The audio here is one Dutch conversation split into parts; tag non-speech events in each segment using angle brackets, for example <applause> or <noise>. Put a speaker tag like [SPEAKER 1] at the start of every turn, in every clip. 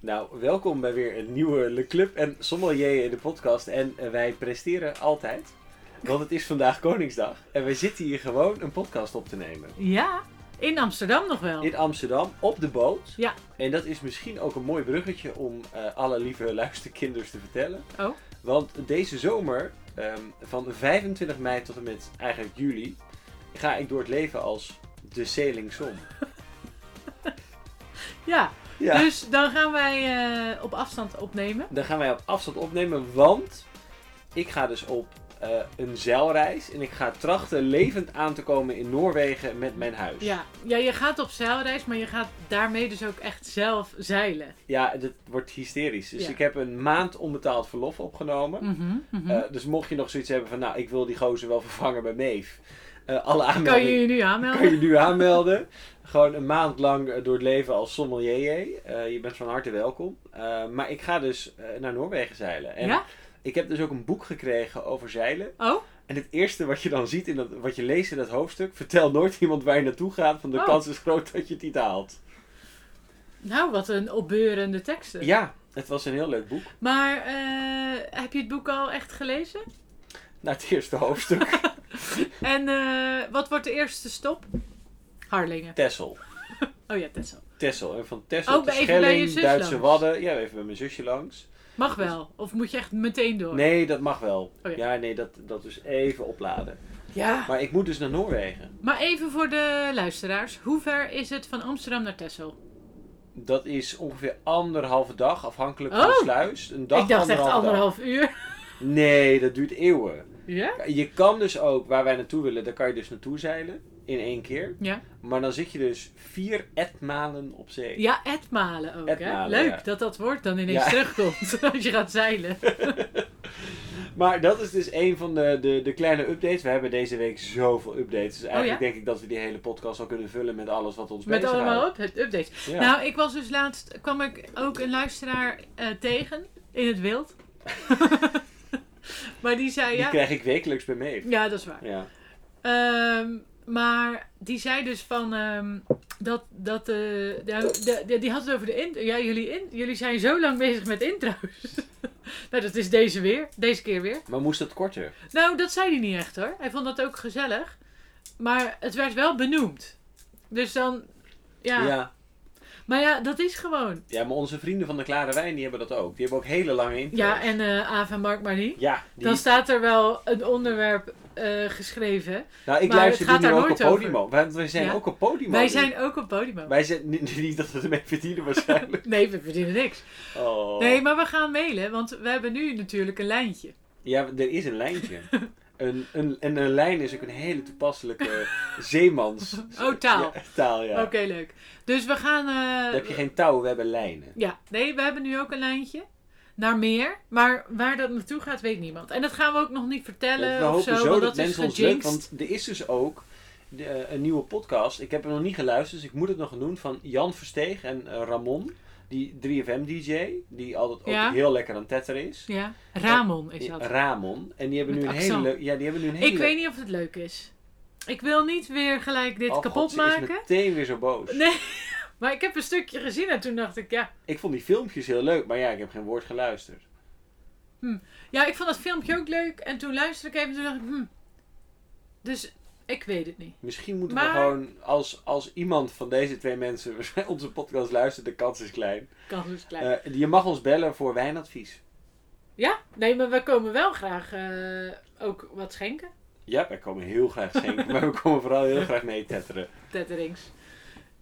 [SPEAKER 1] Nou, welkom bij weer een nieuwe Le Club en Sommelier in de podcast. En eh, wij presteren altijd, want het is vandaag Koningsdag. En wij zitten hier gewoon een podcast op te nemen.
[SPEAKER 2] Ja, in Amsterdam nog wel.
[SPEAKER 1] In Amsterdam, op de boot.
[SPEAKER 2] Ja.
[SPEAKER 1] En dat is misschien ook een mooi bruggetje om eh, alle lieve luisterkinders te vertellen.
[SPEAKER 2] Oh.
[SPEAKER 1] Want deze zomer, ehm, van 25 mei tot en met eigenlijk juli, ga ik door het leven als de Sailing Som.
[SPEAKER 2] Ja.
[SPEAKER 1] Ja.
[SPEAKER 2] dus dan gaan wij eh, op afstand opnemen.
[SPEAKER 1] Dan gaan wij op afstand opnemen, want ik ga dus op eh, een zeilreis. En ik ga trachten levend aan te komen in Noorwegen met mijn huis.
[SPEAKER 2] Ja. ja, je gaat op zeilreis, maar je gaat daarmee dus ook echt zelf zeilen.
[SPEAKER 1] Ja, dat wordt hysterisch. Dus
[SPEAKER 2] Ja.
[SPEAKER 1] ik heb een maand onbetaald verlof opgenomen.
[SPEAKER 2] Mhm, mhm.
[SPEAKER 1] Eh, dus mocht je nog zoiets hebben van, nou, ik wil die gozer wel vervangen bij Meef. eh, alle
[SPEAKER 2] kan
[SPEAKER 1] aanmeldingen
[SPEAKER 2] je je nu aanmelden?
[SPEAKER 1] kan je nu aanmelden. Gewoon een maand lang eh, door het leven als sommelier. Eh, je bent van harte welkom. Eh, maar ik ga dus eh, naar Noorwegen zeilen. En
[SPEAKER 2] Ja?
[SPEAKER 1] ik heb dus ook een boek gekregen over zeilen.
[SPEAKER 2] Oh,
[SPEAKER 1] En het eerste wat je dan ziet, in dat, wat je leest in dat hoofdstuk... Vertel nooit <laughs> iemand waar je naartoe gaat, want de
[SPEAKER 2] Oh.
[SPEAKER 1] kans is groot dat je het niet haalt.
[SPEAKER 2] nou wat een opbeurende teksten.
[SPEAKER 1] Ja, het was een heel leuk boek.
[SPEAKER 2] Maar eh, heb je het boek al echt gelezen?
[SPEAKER 1] Nou, het eerste
[SPEAKER 2] <laughs>
[SPEAKER 1] hoofdstuk,
[SPEAKER 2] En eh, wat wordt de eerste stop? Harlingen.
[SPEAKER 1] Tessel.
[SPEAKER 2] Oh ja, Texel.
[SPEAKER 1] Tessel. En van Tessel
[SPEAKER 2] Ook
[SPEAKER 1] tot
[SPEAKER 2] even Oh, bij je
[SPEAKER 1] Schelling,
[SPEAKER 2] zus
[SPEAKER 1] Duitse
[SPEAKER 2] langs.
[SPEAKER 1] Wadden. Ja, even bij mijn zusje langs.
[SPEAKER 2] Mag wel. Of moet je echt meteen door?
[SPEAKER 1] Nee, dat mag wel.
[SPEAKER 2] Oh
[SPEAKER 1] ja. nee, dat, dat dus even opladen.
[SPEAKER 2] Ja.
[SPEAKER 1] Maar ik moet dus naar Noorwegen.
[SPEAKER 2] Maar even voor de luisteraars. Hoe ver is het van Amsterdam naar Texel?
[SPEAKER 1] Dat is ongeveer anderhalve dag, afhankelijk
[SPEAKER 2] Oh.
[SPEAKER 1] van sluis. Een dag,
[SPEAKER 2] ik dacht echt
[SPEAKER 1] dag.
[SPEAKER 2] anderhalf uur.
[SPEAKER 1] Nee, dat duurt eeuwen.
[SPEAKER 2] Ja?
[SPEAKER 1] Je kan dus ook, waar wij naartoe willen, daar kan je dus naartoe zeilen. In één keer.
[SPEAKER 2] Ja,
[SPEAKER 1] Maar dan zit je dus vier etmalen op zee.
[SPEAKER 2] ja etmalen ook. hè?
[SPEAKER 1] Etmalen,
[SPEAKER 2] Leuk
[SPEAKER 1] ja.
[SPEAKER 2] dat dat woord dan ineens
[SPEAKER 1] Ja. <laughs>
[SPEAKER 2] terugkomt <laughs> als je gaat zeilen.
[SPEAKER 1] Maar dat is dus een van de, de, de kleine updates. We hebben deze week zoveel updates. Dus eigenlijk
[SPEAKER 2] Oh, ja?
[SPEAKER 1] denk ik dat we die hele podcast al kunnen vullen met alles wat ons
[SPEAKER 2] Met
[SPEAKER 1] bezighoudt.
[SPEAKER 2] allemaal up updates.
[SPEAKER 1] Ja.
[SPEAKER 2] Nou, ik was dus laatst, kwam ik ook een luisteraar eh, tegen in het wild. <laughs> maar die zei,
[SPEAKER 1] die
[SPEAKER 2] ja,
[SPEAKER 1] krijg ik wekelijks bij mee.
[SPEAKER 2] ja, dat is waar.
[SPEAKER 1] Ja.
[SPEAKER 2] Ehm, maar die zei dus van ehm, dat, dat eh, nou, de, de- die had het over de intro. Ja, jullie, in, jullie zijn zo lang bezig met intro's. <laughs> nou, dat is deze weer, deze keer weer.
[SPEAKER 1] Maar moest dat korter?
[SPEAKER 2] Nou, dat zei hij niet echt hoor. Hij vond dat ook gezellig. Maar het werd wel benoemd. Dus dan, ja.
[SPEAKER 1] ja.
[SPEAKER 2] Maar ja, dat is gewoon.
[SPEAKER 1] Ja, maar onze vrienden van de Klare Wijn, die hebben dat ook. Die hebben ook hele lange intro's.
[SPEAKER 2] Ja, en eh Aaf en Mark maar niet.
[SPEAKER 1] Ja, die
[SPEAKER 2] Dan staat er wel een onderwerp eh, geschreven.
[SPEAKER 1] Nou, ik
[SPEAKER 2] Maar
[SPEAKER 1] luister
[SPEAKER 2] het gaat
[SPEAKER 1] dit nu
[SPEAKER 2] daar
[SPEAKER 1] ook op
[SPEAKER 2] nooit over.
[SPEAKER 1] Podimo. Wij, wij zijn
[SPEAKER 2] Ja.
[SPEAKER 1] ook op Podimo.
[SPEAKER 2] Wij
[SPEAKER 1] nu.
[SPEAKER 2] zijn ook op Podimo.
[SPEAKER 1] Wij zijn <laughs> niet, niet dat we ermee verdienen
[SPEAKER 2] <laughs>
[SPEAKER 1] waarschijnlijk.
[SPEAKER 2] Nee, we verdienen niks.
[SPEAKER 1] Oh.
[SPEAKER 2] Nee, maar we gaan mailen, want we hebben nu natuurlijk een lijntje.
[SPEAKER 1] Ja, er is een lijntje. een, een, en een lijn is ook een hele
[SPEAKER 2] <laughs>
[SPEAKER 1] toepasselijke zeemans...
[SPEAKER 2] Oh, taal.
[SPEAKER 1] Ja, taal, ja.
[SPEAKER 2] Oké, leuk. Dus we gaan... eh,
[SPEAKER 1] Dan heb je geen touw, we hebben lijnen.
[SPEAKER 2] Ja, nee, we hebben nu ook een lijntje. Naar meer. Maar waar dat naartoe gaat, weet niemand. En dat gaan we ook nog niet vertellen.
[SPEAKER 1] we
[SPEAKER 2] of
[SPEAKER 1] hopen
[SPEAKER 2] zo,
[SPEAKER 1] zo
[SPEAKER 2] want
[SPEAKER 1] dat
[SPEAKER 2] is
[SPEAKER 1] mensen ons leuk...
[SPEAKER 2] gejinxed.
[SPEAKER 1] Want er is dus ook de, eh, een nieuwe podcast. Ik heb hem nog niet geluisterd, dus ik moet het nog doen. Van Jan Versteeg en eh, Ramon. Die 3FM-dj. Die altijd ook
[SPEAKER 2] Ja.
[SPEAKER 1] heel lekker aan tetter is.
[SPEAKER 2] Ja, Ramon is dat.
[SPEAKER 1] Ramon. En die hebben nu
[SPEAKER 2] Met
[SPEAKER 1] een hele
[SPEAKER 2] accent.
[SPEAKER 1] leuke. Ja, die hebben nu een hele
[SPEAKER 2] Ik weet niet of het leuk is. Ik wil niet weer gelijk dit
[SPEAKER 1] Oh,
[SPEAKER 2] kapot
[SPEAKER 1] God, ze
[SPEAKER 2] maken.
[SPEAKER 1] is meteen weer zo boos.
[SPEAKER 2] Nee, maar ik heb een stukje gezien en toen dacht ik, ja.
[SPEAKER 1] Ik vond die filmpjes heel leuk, maar ja, ik heb geen woord geluisterd.
[SPEAKER 2] Ja, ik vond dat filmpje ook leuk. En toen luisterde ik even en toen dacht ik, hm. Dus ik weet het niet.
[SPEAKER 1] Misschien moeten we
[SPEAKER 2] Maar-
[SPEAKER 1] gewoon, als, als iemand van deze twee mensen <laughs> onze podcast luistert, de kans is klein.
[SPEAKER 2] Kan dus klein.
[SPEAKER 1] Eh, je mag ons bellen voor wijnadvies.
[SPEAKER 2] Ja,
[SPEAKER 1] Eh.
[SPEAKER 2] nee, maar we komen wel graag eh, ook wat schenken.
[SPEAKER 1] Ja, wij komen heel graag
[SPEAKER 2] <laughs>
[SPEAKER 1] schenken, maar we komen vooral heel graag mee tetteren.
[SPEAKER 2] Tetterings.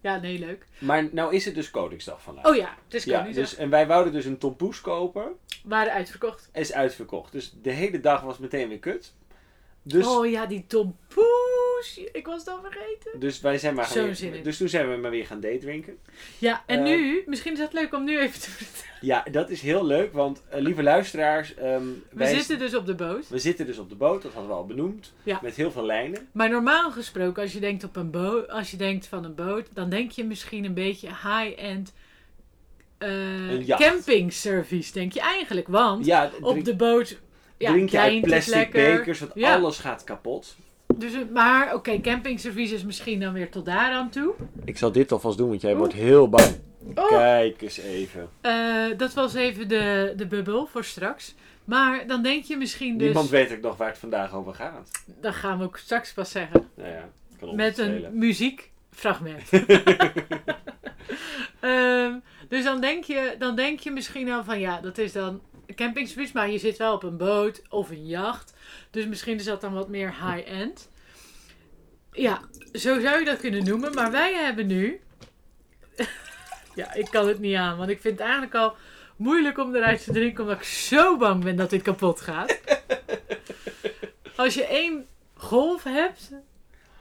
[SPEAKER 2] Ja, nee, leuk.
[SPEAKER 1] Maar nou is het dus Koningsdag vandaag.
[SPEAKER 2] Oh ja, het is
[SPEAKER 1] ja,
[SPEAKER 2] Koningsdag.
[SPEAKER 1] dus, en wij wouden dus een tompoes kopen.
[SPEAKER 2] Waren uitverkocht.
[SPEAKER 1] Is uitverkocht. Dus de hele dag was meteen weer kut. Dus
[SPEAKER 2] Oh ja, die tompoes. Ik was het al vergeten.
[SPEAKER 1] Dus wij zijn maar gaan
[SPEAKER 2] Zo'n
[SPEAKER 1] weer-
[SPEAKER 2] zin in.
[SPEAKER 1] Dus toen zijn we maar weer gaan daydrinken.
[SPEAKER 2] Ja, en
[SPEAKER 1] Eh.
[SPEAKER 2] nu, misschien is het leuk om nu even te vertellen.
[SPEAKER 1] Ja, dat is heel leuk, want eh, lieve luisteraars, ehm,
[SPEAKER 2] We
[SPEAKER 1] wij-
[SPEAKER 2] zitten dus op de boot.
[SPEAKER 1] we zitten dus op de boot, dat hadden we al benoemd,
[SPEAKER 2] Ja.
[SPEAKER 1] met heel veel lijnen.
[SPEAKER 2] Maar normaal gesproken, als je denkt, op een boot, als je denkt van een boot, dan denk je misschien een beetje high-end
[SPEAKER 1] Een
[SPEAKER 2] eh
[SPEAKER 1] jacht.
[SPEAKER 2] camping service, denk je eigenlijk. Want
[SPEAKER 1] Ja,
[SPEAKER 2] op
[SPEAKER 1] drink,
[SPEAKER 2] de boot. Ja,
[SPEAKER 1] drink je uit
[SPEAKER 2] deint is
[SPEAKER 1] plastic
[SPEAKER 2] lekker.
[SPEAKER 1] bekers, want
[SPEAKER 2] Ja.
[SPEAKER 1] alles gaat kapot.
[SPEAKER 2] Dus, het- maar oké, camping service is misschien dan weer tot daar aan toe.
[SPEAKER 1] Ik zal dit alvast doen, want jij
[SPEAKER 2] Oeh. wordt
[SPEAKER 1] heel bang.
[SPEAKER 2] Oh,
[SPEAKER 1] Kijk eens even.
[SPEAKER 2] eh, dat was even de, de bubbel voor straks. Maar dan denk je misschien dus...
[SPEAKER 1] Niemand weet ook nog waar het vandaag over gaat.
[SPEAKER 2] Dat gaan we ook straks pas zeggen.
[SPEAKER 1] Nou ja, kan ons
[SPEAKER 2] Met
[SPEAKER 1] schelen.
[SPEAKER 2] een muziekfragment. <laughs> Ehm, dus dan denk, je, dan denk je misschien al van ja, dat is dan een campingsbus, maar je zit wel op een boot of een jacht. Dus misschien is dat dan wat meer high-end. Ja, zo zou je dat kunnen noemen. Maar wij hebben nu. <laughs> ja, ik kan het niet aan, want ik vind het eigenlijk al moeilijk om eruit te drinken, omdat ik zo bang ben dat dit kapot gaat. Als je één golf hebt,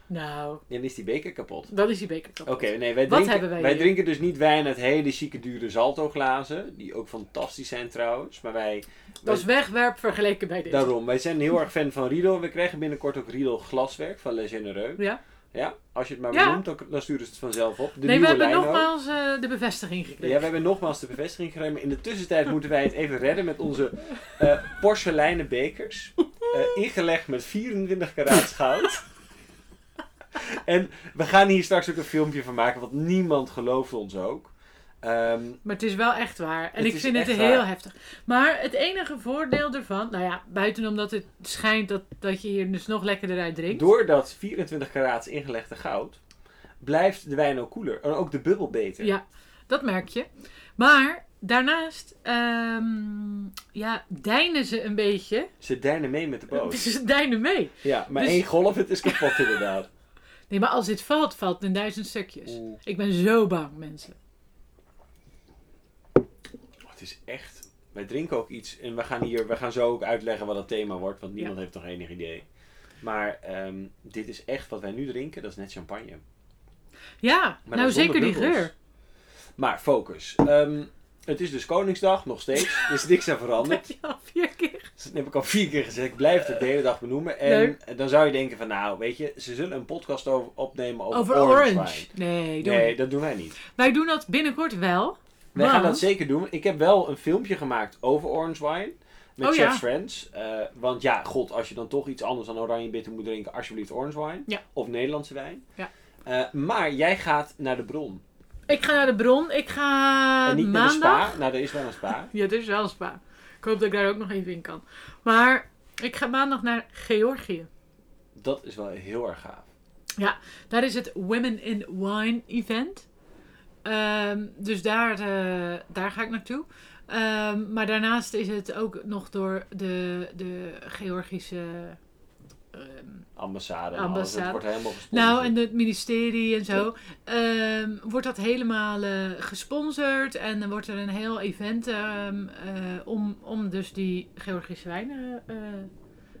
[SPEAKER 2] nou,
[SPEAKER 1] Dan is die beker kapot.
[SPEAKER 2] dan is die beker kapot.
[SPEAKER 1] Oké, nee, wij,
[SPEAKER 2] Wat
[SPEAKER 1] drinken,
[SPEAKER 2] hebben
[SPEAKER 1] wij,
[SPEAKER 2] wij hier?
[SPEAKER 1] drinken dus niet wijn uit hele chique dure saltoglazen. Die ook fantastisch zijn trouwens. Maar wij,
[SPEAKER 2] Dat is wegwerp vergeleken bij dit.
[SPEAKER 1] daarom, wij zijn heel erg fan van Riedel. We krijgen binnenkort ook Riedel glaswerk van Les Genereux.
[SPEAKER 2] Ja.
[SPEAKER 1] Ja, als je het maar
[SPEAKER 2] Ja.
[SPEAKER 1] benoemt, dan, dan sturen ze het vanzelf op. De
[SPEAKER 2] nee, we
[SPEAKER 1] nieuwe
[SPEAKER 2] hebben
[SPEAKER 1] lijn ook.
[SPEAKER 2] nogmaals eh, de bevestiging gekregen.
[SPEAKER 1] Ja, we hebben nogmaals de bevestiging gekregen. maar In de tussentijd moeten wij het even redden met onze eh, porseleinen bekers. eh, ingelegd met 24 karaat goud. en we gaan hier straks ook een filmpje van maken, want niemand gelooft ons ook. Ehm,
[SPEAKER 2] Maar het is wel echt waar. En
[SPEAKER 1] Het
[SPEAKER 2] ik
[SPEAKER 1] is
[SPEAKER 2] vind het
[SPEAKER 1] echt
[SPEAKER 2] heel
[SPEAKER 1] waar.
[SPEAKER 2] heftig. Maar het enige voordeel ervan, nou ja, buiten omdat het schijnt dat, dat je hier dus nog lekkerder uit drinkt.
[SPEAKER 1] door dat 24 karaat ingelegde goud blijft de wijn ook koeler. En ook de bubbel beter.
[SPEAKER 2] Ja, dat merk je. Maar daarnaast, ehm, ja, deinen ze een beetje.
[SPEAKER 1] Ze deinen mee
[SPEAKER 2] <laughs>
[SPEAKER 1] met de boot.
[SPEAKER 2] Ze deinen mee.
[SPEAKER 1] Ja, maar
[SPEAKER 2] Dus-
[SPEAKER 1] één golf, het is kapot inderdaad.
[SPEAKER 2] Nee, maar als dit valt, valt het in duizend stukjes.
[SPEAKER 1] Oeh.
[SPEAKER 2] Ik ben zo bang, mensen.
[SPEAKER 1] Oh, het is echt. Wij drinken ook iets. En we gaan hier. We gaan zo ook uitleggen wat het thema wordt. Want niemand
[SPEAKER 2] Ja.
[SPEAKER 1] heeft nog enig idee. Maar ehm, dit is echt wat wij nu drinken. Dat is net champagne.
[SPEAKER 2] Ja,
[SPEAKER 1] Maar
[SPEAKER 2] nou
[SPEAKER 1] dan zonder
[SPEAKER 2] zeker die
[SPEAKER 1] bubbels.
[SPEAKER 2] geur. <laughs>
[SPEAKER 1] Maar focus. Ehm, het is dus Koningsdag nog steeds. Er is niks aan
[SPEAKER 2] Dat <laughs>
[SPEAKER 1] veranderd.
[SPEAKER 2] je al vier keer.
[SPEAKER 1] Dat heb ik al vier keer gezegd. Ik blijf het de hele dag benoemen. En dan zou je denken van nou weet je. Ze zullen een podcast over, opnemen over,
[SPEAKER 2] Over
[SPEAKER 1] orange,
[SPEAKER 2] orange.
[SPEAKER 1] wine.
[SPEAKER 2] Nee, doe
[SPEAKER 1] Nee,
[SPEAKER 2] niet.
[SPEAKER 1] dat doen wij niet.
[SPEAKER 2] Wij doen dat binnenkort wel.
[SPEAKER 1] Wij gaan dat
[SPEAKER 2] Want-
[SPEAKER 1] zeker doen. Ik heb wel een filmpje gemaakt over orange wine. Met
[SPEAKER 2] Oh,
[SPEAKER 1] Chef's
[SPEAKER 2] ja.
[SPEAKER 1] Friends. Eh, want ja, god, als je dan toch iets anders dan oranje bitter moet drinken, alsjeblieft orange wine.
[SPEAKER 2] Ja.
[SPEAKER 1] Of Nederlandse wijn.
[SPEAKER 2] Ja.
[SPEAKER 1] Eh, maar jij gaat naar de bron.
[SPEAKER 2] Ik ga naar de bron. Ik ga
[SPEAKER 1] en niet naar de
[SPEAKER 2] Eh, maandag.
[SPEAKER 1] spa. Nou, er is wel een spa.
[SPEAKER 2] Ja, dit is wel een spa. Ik hoop dat ik daar ook nog even in kan. Maar ik ga maandag naar Georgië.
[SPEAKER 1] Dat is wel heel erg gaaf.
[SPEAKER 2] Daar is het Women in Wine event. Ehm, dus daar, eh, daar ga ik naartoe. Ehm, maar daarnaast is het ook nog door de, de Georgische. ehm,
[SPEAKER 1] Ambassade. en
[SPEAKER 2] Ambassade.
[SPEAKER 1] Alles. Het wordt helemaal gesponsord.
[SPEAKER 2] Nou, en het ministerie en zo. ehm, wordt dat helemaal eh, gesponsord. En dan wordt er een heel event ehm, eh, om, om dus die Georgische wijnen eh,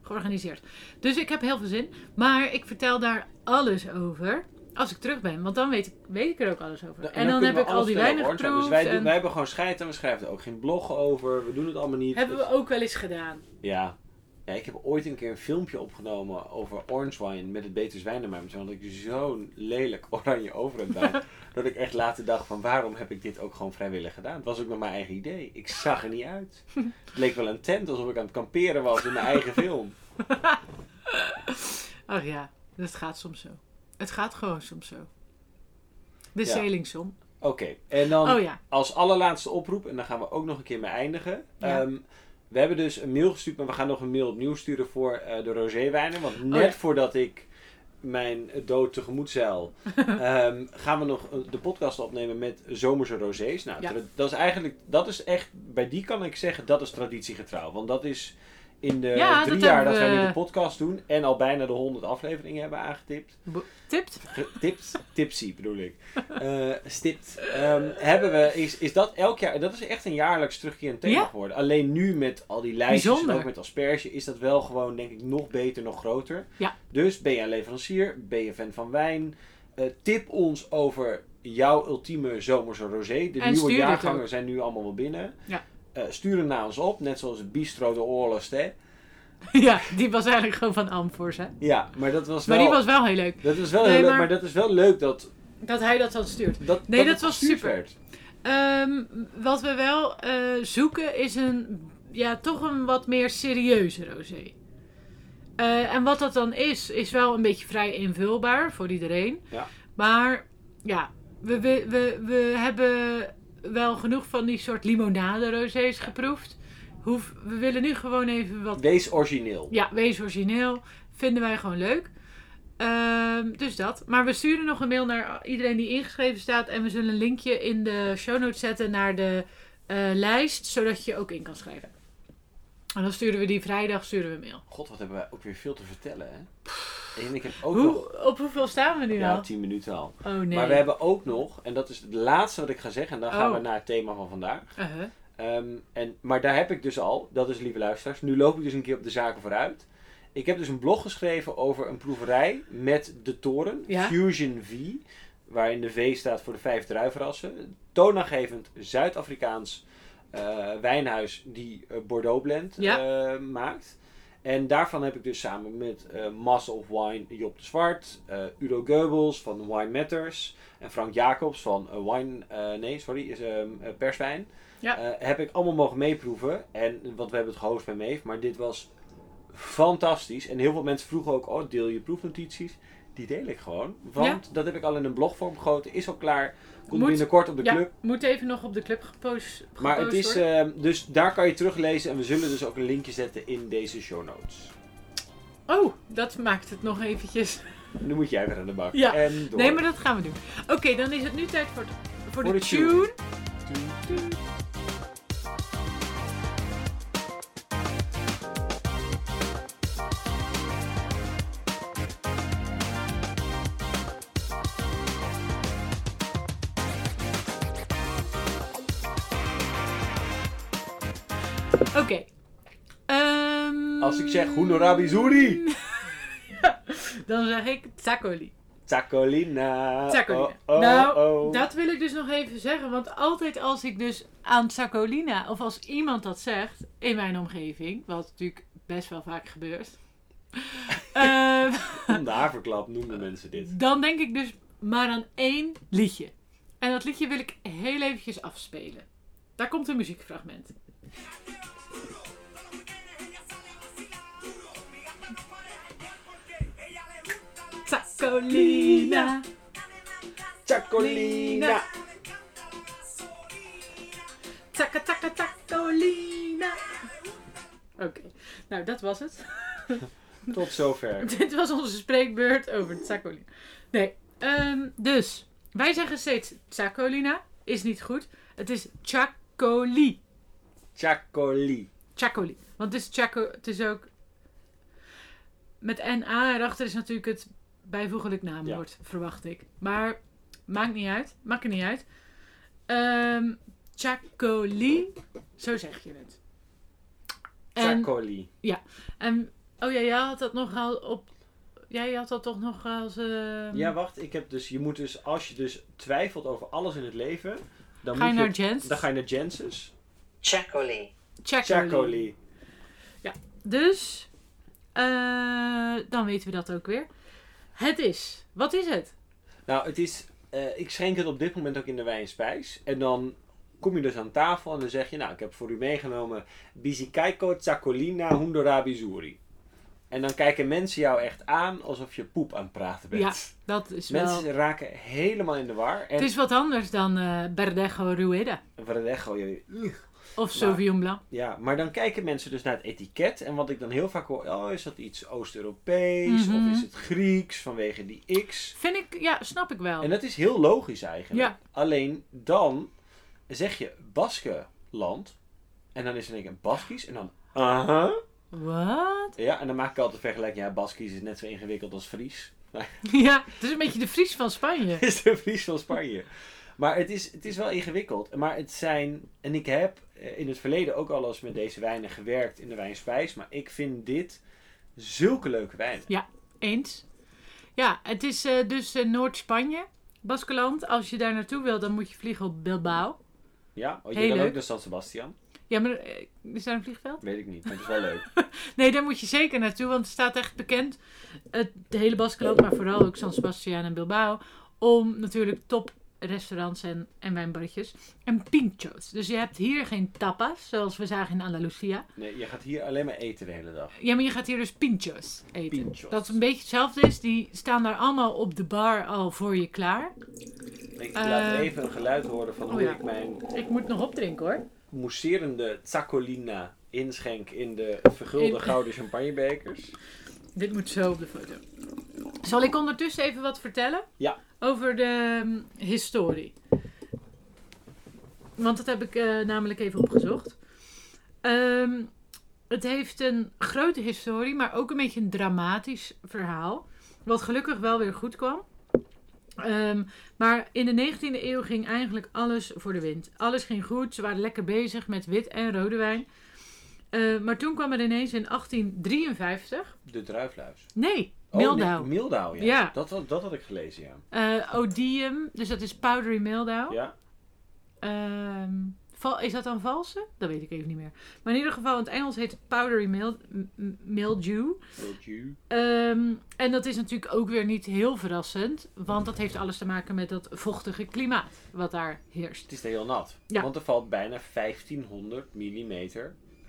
[SPEAKER 2] georganiseerd. Dus ik heb heel veel zin. Maar ik vertel daar alles over. Als ik terug ben, want dan weet ik, weet ik er ook alles over.
[SPEAKER 1] Nou,
[SPEAKER 2] en, dan,
[SPEAKER 1] kunnen
[SPEAKER 2] heb
[SPEAKER 1] we
[SPEAKER 2] ik al
[SPEAKER 1] alles
[SPEAKER 2] die
[SPEAKER 1] vertellen
[SPEAKER 2] wijnen
[SPEAKER 1] over orange wine.
[SPEAKER 2] geproefd.
[SPEAKER 1] Dus wij, doen-
[SPEAKER 2] en
[SPEAKER 1] wij hebben gewoon scheid en we schrijven er ook geen blog over. We doen het allemaal niet.
[SPEAKER 2] Hebben
[SPEAKER 1] Dus-
[SPEAKER 2] we ook wel eens gedaan.
[SPEAKER 1] Ja. ja. Ik heb ooit een keer een filmpje opgenomen over orange wine met het Beters Wijnenmuim. Omdat ik zo'n lelijk <laughs> oranje overhemd had. dat ik echt later dacht van waarom heb ik dit ook gewoon vrijwillig gedaan. Het was ook nog mijn eigen idee. Ik zag er niet uit. Het leek wel een tent alsof ik aan het kamperen was in mijn eigen film.
[SPEAKER 2] Ach ja, dat gaat soms zo. Het gaat gewoon soms zo. De
[SPEAKER 1] Ja.
[SPEAKER 2] Selingsom.
[SPEAKER 1] Oké, en dan
[SPEAKER 2] Oh ja.
[SPEAKER 1] als allerlaatste oproep, en daar gaan we ook nog een keer mee eindigen.
[SPEAKER 2] Ja.
[SPEAKER 1] Ehm, we hebben dus een mail gestuurd, maar we gaan nog een mail opnieuw sturen voor eh, de roséwijnen. Want net
[SPEAKER 2] Oh ja.
[SPEAKER 1] voordat ik mijn dood tegemoet
[SPEAKER 2] <laughs>
[SPEAKER 1] zeil, ehm, gaan we nog eh, de podcast opnemen met zomerse rosés. Nou,
[SPEAKER 2] Ja.
[SPEAKER 1] tra- dat is eigenlijk, dat is echt, bij die kan ik zeggen, dat is traditiegetrouw. Want dat is in de
[SPEAKER 2] Ja,
[SPEAKER 1] drie
[SPEAKER 2] dat
[SPEAKER 1] jaar
[SPEAKER 2] hebben
[SPEAKER 1] dat wij nu
[SPEAKER 2] we-
[SPEAKER 1] de podcast doen en al bijna de 100 afleveringen hebben aangetipt.
[SPEAKER 2] Bo- Tipt?
[SPEAKER 1] Tips, tipsy bedoel ik. Eh, stipt. Ehm, hebben we, is, is dat elk jaar, dat is echt een jaarlijks terugkerend thema
[SPEAKER 2] Ja.
[SPEAKER 1] geworden. Alleen nu met al die lijstjes
[SPEAKER 2] Bijzonder.
[SPEAKER 1] en ook met asperge is dat wel gewoon denk ik nog beter, nog groter.
[SPEAKER 2] Ja.
[SPEAKER 1] Dus ben je een leverancier, ben je fan van wijn, eh, tip ons over jouw ultieme zomerse rosé. De
[SPEAKER 2] En
[SPEAKER 1] nieuwe
[SPEAKER 2] stuur het
[SPEAKER 1] jaargangen
[SPEAKER 2] ook.
[SPEAKER 1] zijn nu allemaal wel binnen.
[SPEAKER 2] Ja.
[SPEAKER 1] Eh, stuur hem naar ons op, net zoals Bistro de Oorlast. hè.
[SPEAKER 2] <laughs> Ja, die was eigenlijk gewoon van Amfors, hè?
[SPEAKER 1] Ja, maar dat was wel...
[SPEAKER 2] Maar die was wel heel leuk.
[SPEAKER 1] Dat is wel
[SPEAKER 2] Nee,
[SPEAKER 1] heel leuk,
[SPEAKER 2] maar-
[SPEAKER 1] maar dat is wel leuk dat...
[SPEAKER 2] Dat hij dat dan stuurt.
[SPEAKER 1] dat
[SPEAKER 2] Nee, dat
[SPEAKER 1] het
[SPEAKER 2] was
[SPEAKER 1] gestuurd
[SPEAKER 2] super.
[SPEAKER 1] werd.
[SPEAKER 2] Ehm, wat we wel eh, zoeken is een, ja, toch een wat meer serieuze rosé. Eh, en wat dat dan is, is wel een beetje vrij invulbaar voor iedereen.
[SPEAKER 1] Ja.
[SPEAKER 2] Maar ja, we, we, we, we hebben wel genoeg van die soort limonade-rosés geproefd. Hoef, we willen nu gewoon even wat...
[SPEAKER 1] Wees origineel.
[SPEAKER 2] Ja, wees origineel. Vinden wij gewoon leuk. Ehm, dus dat. Maar we sturen nog een mail naar iedereen die ingeschreven staat. En we zullen een linkje in de show notes zetten naar de eh, lijst. Zodat je ook in kan schrijven. En dan sturen we die vrijdag sturen we een mail.
[SPEAKER 1] God, wat hebben wij ook weer veel te vertellen, hè? En ik heb ook nog...
[SPEAKER 2] Hoe, op hoeveel staan we nu
[SPEAKER 1] Ja,
[SPEAKER 2] al?
[SPEAKER 1] tien minuten al.
[SPEAKER 2] Oh nee.
[SPEAKER 1] Maar we hebben ook nog, en dat is het laatste wat ik ga zeggen, en dan gaan
[SPEAKER 2] Oh.
[SPEAKER 1] we naar het thema van vandaag.
[SPEAKER 2] Uh-huh.
[SPEAKER 1] Ehm, en, maar daar heb ik dus al, dat is lieve luisteraars, nu loop ik dus een keer op de zaken vooruit. Ik heb dus een blog geschreven over een proeverij met de toren,
[SPEAKER 2] Ja.
[SPEAKER 1] Fusion V, waarin de V staat voor de vijf druivenrassen. Toonaangevend Zuid-Afrikaans eh, wijnhuis die eh, Bordeaux blend
[SPEAKER 2] Ja.
[SPEAKER 1] eh, maakt. En daarvan heb ik dus samen met eh Master of Wine Job de Zwart, eh, Udo Goebbels van Wine Matters en Frank Jacobs van eh, Wine, eh, nee sorry, is, ehm, eh, Perswijn.
[SPEAKER 2] Ja.
[SPEAKER 1] Eh, heb ik allemaal mogen meeproeven. En, want we hebben het gehost bij Meef. Maar dit was fantastisch. En heel veel mensen vroegen ook, oh deel je proefnotities. Die deel ik gewoon. Want dat heb ik al in een blogvorm gegoten. Is al klaar. Komt
[SPEAKER 2] Moet-
[SPEAKER 1] binnenkort op de
[SPEAKER 2] ja,
[SPEAKER 1] club.
[SPEAKER 2] moet even nog op de club gepost, gepost
[SPEAKER 1] Maar het is,
[SPEAKER 2] worden.
[SPEAKER 1] ehm, dus daar kan je teruglezen. En we zullen dus ook een linkje zetten in deze show notes. eh,
[SPEAKER 2] Oh, dat maakt het nog eventjes.
[SPEAKER 1] Nu moet jij weer aan de bak.
[SPEAKER 2] Ja.
[SPEAKER 1] En door.
[SPEAKER 2] Nee, maar dat gaan we doen. Oké, dan is het nu tijd voor, het- voor, de,
[SPEAKER 1] de
[SPEAKER 2] tune.
[SPEAKER 1] tune.
[SPEAKER 2] Oké. Ehm,
[SPEAKER 1] Als ik zeg Honorabi Zuri.
[SPEAKER 2] Dan zeg ik Tsakoli.
[SPEAKER 1] Tacolina.
[SPEAKER 2] Tacolina.
[SPEAKER 1] Oh, oh,
[SPEAKER 2] nou,
[SPEAKER 1] oh.
[SPEAKER 2] dat wil ik dus nog even zeggen. Want altijd als ik dus aan Sacolina, of als iemand dat zegt in mijn omgeving, wat natuurlijk best wel vaak gebeurt, eh,
[SPEAKER 1] Om de haverklap noemen mensen dit.
[SPEAKER 2] dan denk ik dus maar aan één liedje. En dat liedje wil ik heel eventjes afspelen. Daar komt een muziekfragment. Sacolina.
[SPEAKER 1] Tacolina.
[SPEAKER 2] Takka takka takolina. Oké, nou dat was het.
[SPEAKER 1] Tot zover.
[SPEAKER 2] <laughs> Dit was onze spreekbeurt over Tsakolina. Nee, ehm, dus wij zeggen steeds Tsakolina. Is niet goed. Het is Chacoli.
[SPEAKER 1] Chacoli.
[SPEAKER 2] Chacoli. Want het is Chaco. Het is ook. Met NA erachter is natuurlijk het bijvoeglijk naamwoord, verwacht ik. Maar maakt niet uit. Maakt er niet uit. Ehm Chacoli. Zo zeg je het. En
[SPEAKER 1] Chacoli.
[SPEAKER 2] En, oh ja, jij had dat nogal op. Jij had dat toch nog als. ehm,
[SPEAKER 1] Ja, wacht. Ik heb dus, je moet dus, als je dus twijfelt over alles in het leven, dan,
[SPEAKER 2] ga je
[SPEAKER 1] moet
[SPEAKER 2] naar Jens?
[SPEAKER 1] dan ga je naar Jensen's.
[SPEAKER 3] Chacoli.
[SPEAKER 2] Check Chacoli.
[SPEAKER 1] Chacoli.
[SPEAKER 2] Dus, eh, dan weten we dat ook weer. Het is. Wat is het?
[SPEAKER 1] Nou, het is, eh, ik schenk het op dit moment ook in de wijnspijs. En dan kom je dus aan tafel en dan zeg je, nou, ik heb voor u meegenomen Bizikaiko Chacolina Hundorabi Zuri. En dan kijken mensen jou echt aan alsof je poep aan het praten bent.
[SPEAKER 2] Ja, dat is wel.
[SPEAKER 1] Mensen raken helemaal in de war. En
[SPEAKER 2] Het is wat anders dan eh Berdejo Rueda
[SPEAKER 1] Wat een echo, jullie.
[SPEAKER 2] of Sauvignon Blanc.
[SPEAKER 1] Ja, maar dan kijken mensen dus naar het etiket. En wat ik dan heel vaak hoor, oh, is dat iets Oost-Europees
[SPEAKER 2] Mhm.
[SPEAKER 1] of is het Grieks vanwege die X?
[SPEAKER 2] Vind ik, ja, snap ik wel.
[SPEAKER 1] En dat is heel logisch eigenlijk.
[SPEAKER 2] Ja.
[SPEAKER 1] Alleen dan zeg je Baskenland. En dan is er denk ik een Baskisch. En dan, aha.
[SPEAKER 2] Wat? <laughs>
[SPEAKER 1] Ja, en dan maak ik altijd de vergelijking. Ja, Baskisch is net zo ingewikkeld als Fries.
[SPEAKER 2] Ja, het is een beetje de Fries van Spanje.
[SPEAKER 1] <laughs> is de Fries van Spanje. Maar het is, het is wel ingewikkeld. Maar het zijn. En ik heb eh, in het verleden ook al eens met deze wijnen gewerkt in de wijnspijs. Maar ik vind dit zulke leuke wijn.
[SPEAKER 2] Eens. Ja, het is eh, dus eh, Noord-Spanje, Baskeland. Als je daar naartoe wil, dan moet je vliegen op Bilbao.
[SPEAKER 1] Ja, oh, je
[SPEAKER 2] Heel
[SPEAKER 1] kan
[SPEAKER 2] leuk.
[SPEAKER 1] ook naar San Sebastian.
[SPEAKER 2] Ja, maar eh, is daar een vliegveld?
[SPEAKER 1] Weet ik niet, maar het is wel leuk.
[SPEAKER 2] Nee, daar moet je zeker naartoe, want het staat echt bekend. Het de hele Baskeland, maar vooral ook San Sebastian en Bilbao. Om natuurlijk top restaurants en, en wijnbarretjes. En pinchos. Dus je hebt hier geen tapas, zoals we zagen in Andalusia.
[SPEAKER 1] Nee, je gaat hier alleen maar eten de hele dag.
[SPEAKER 2] Ja, maar je gaat hier dus pinchos eten.
[SPEAKER 1] Pinchos.
[SPEAKER 2] Dat is een beetje hetzelfde is. Die staan daar allemaal op de bar al voor je klaar.
[SPEAKER 1] Ik laat
[SPEAKER 2] Eh,
[SPEAKER 1] even een geluid horen van
[SPEAKER 2] oh
[SPEAKER 1] hoe
[SPEAKER 2] ja.
[SPEAKER 1] ik mijn
[SPEAKER 2] Ik moet nog opdrinken hoor.
[SPEAKER 1] mousserende Zacolina inschenk in de vergulde
[SPEAKER 2] In-
[SPEAKER 1] gouden champagnebekers.
[SPEAKER 2] Dit moet zo op de foto. Zal ik ondertussen even wat vertellen?
[SPEAKER 1] Ja.
[SPEAKER 2] Over de hm, historie. Want dat heb ik eh, namelijk even opgezocht. Ehm, het heeft een grote historie, maar ook een beetje een dramatisch verhaal. Wat gelukkig wel weer goed kwam. Ehm, maar in de 19e eeuw ging eigenlijk alles voor de wind. Alles ging goed, ze waren lekker bezig met wit en rode wijn. Eh, maar toen kwam er ineens in 1853
[SPEAKER 1] De druifluis.
[SPEAKER 2] Nee,
[SPEAKER 1] Oh, nee,
[SPEAKER 2] Mildauw.
[SPEAKER 1] Mildauw, ja.
[SPEAKER 2] Ja.
[SPEAKER 1] Dat, had, dat had ik gelezen, ja.
[SPEAKER 2] Eh, odium, dus dat is powdery Mildauw.
[SPEAKER 1] Ja,
[SPEAKER 2] Ehm, val- is dat dan valse? Dat weet ik even niet meer. Maar in ieder geval, in het Engels heet het powdery mild, m- m- mildew.
[SPEAKER 1] wilt u?
[SPEAKER 2] Ehm, en dat is natuurlijk ook weer niet heel verrassend, want dat heeft alles te maken met dat vochtige klimaat wat daar heerst.
[SPEAKER 1] Het is heel nat.
[SPEAKER 2] Ja.
[SPEAKER 1] Want er valt bijna 1500 mm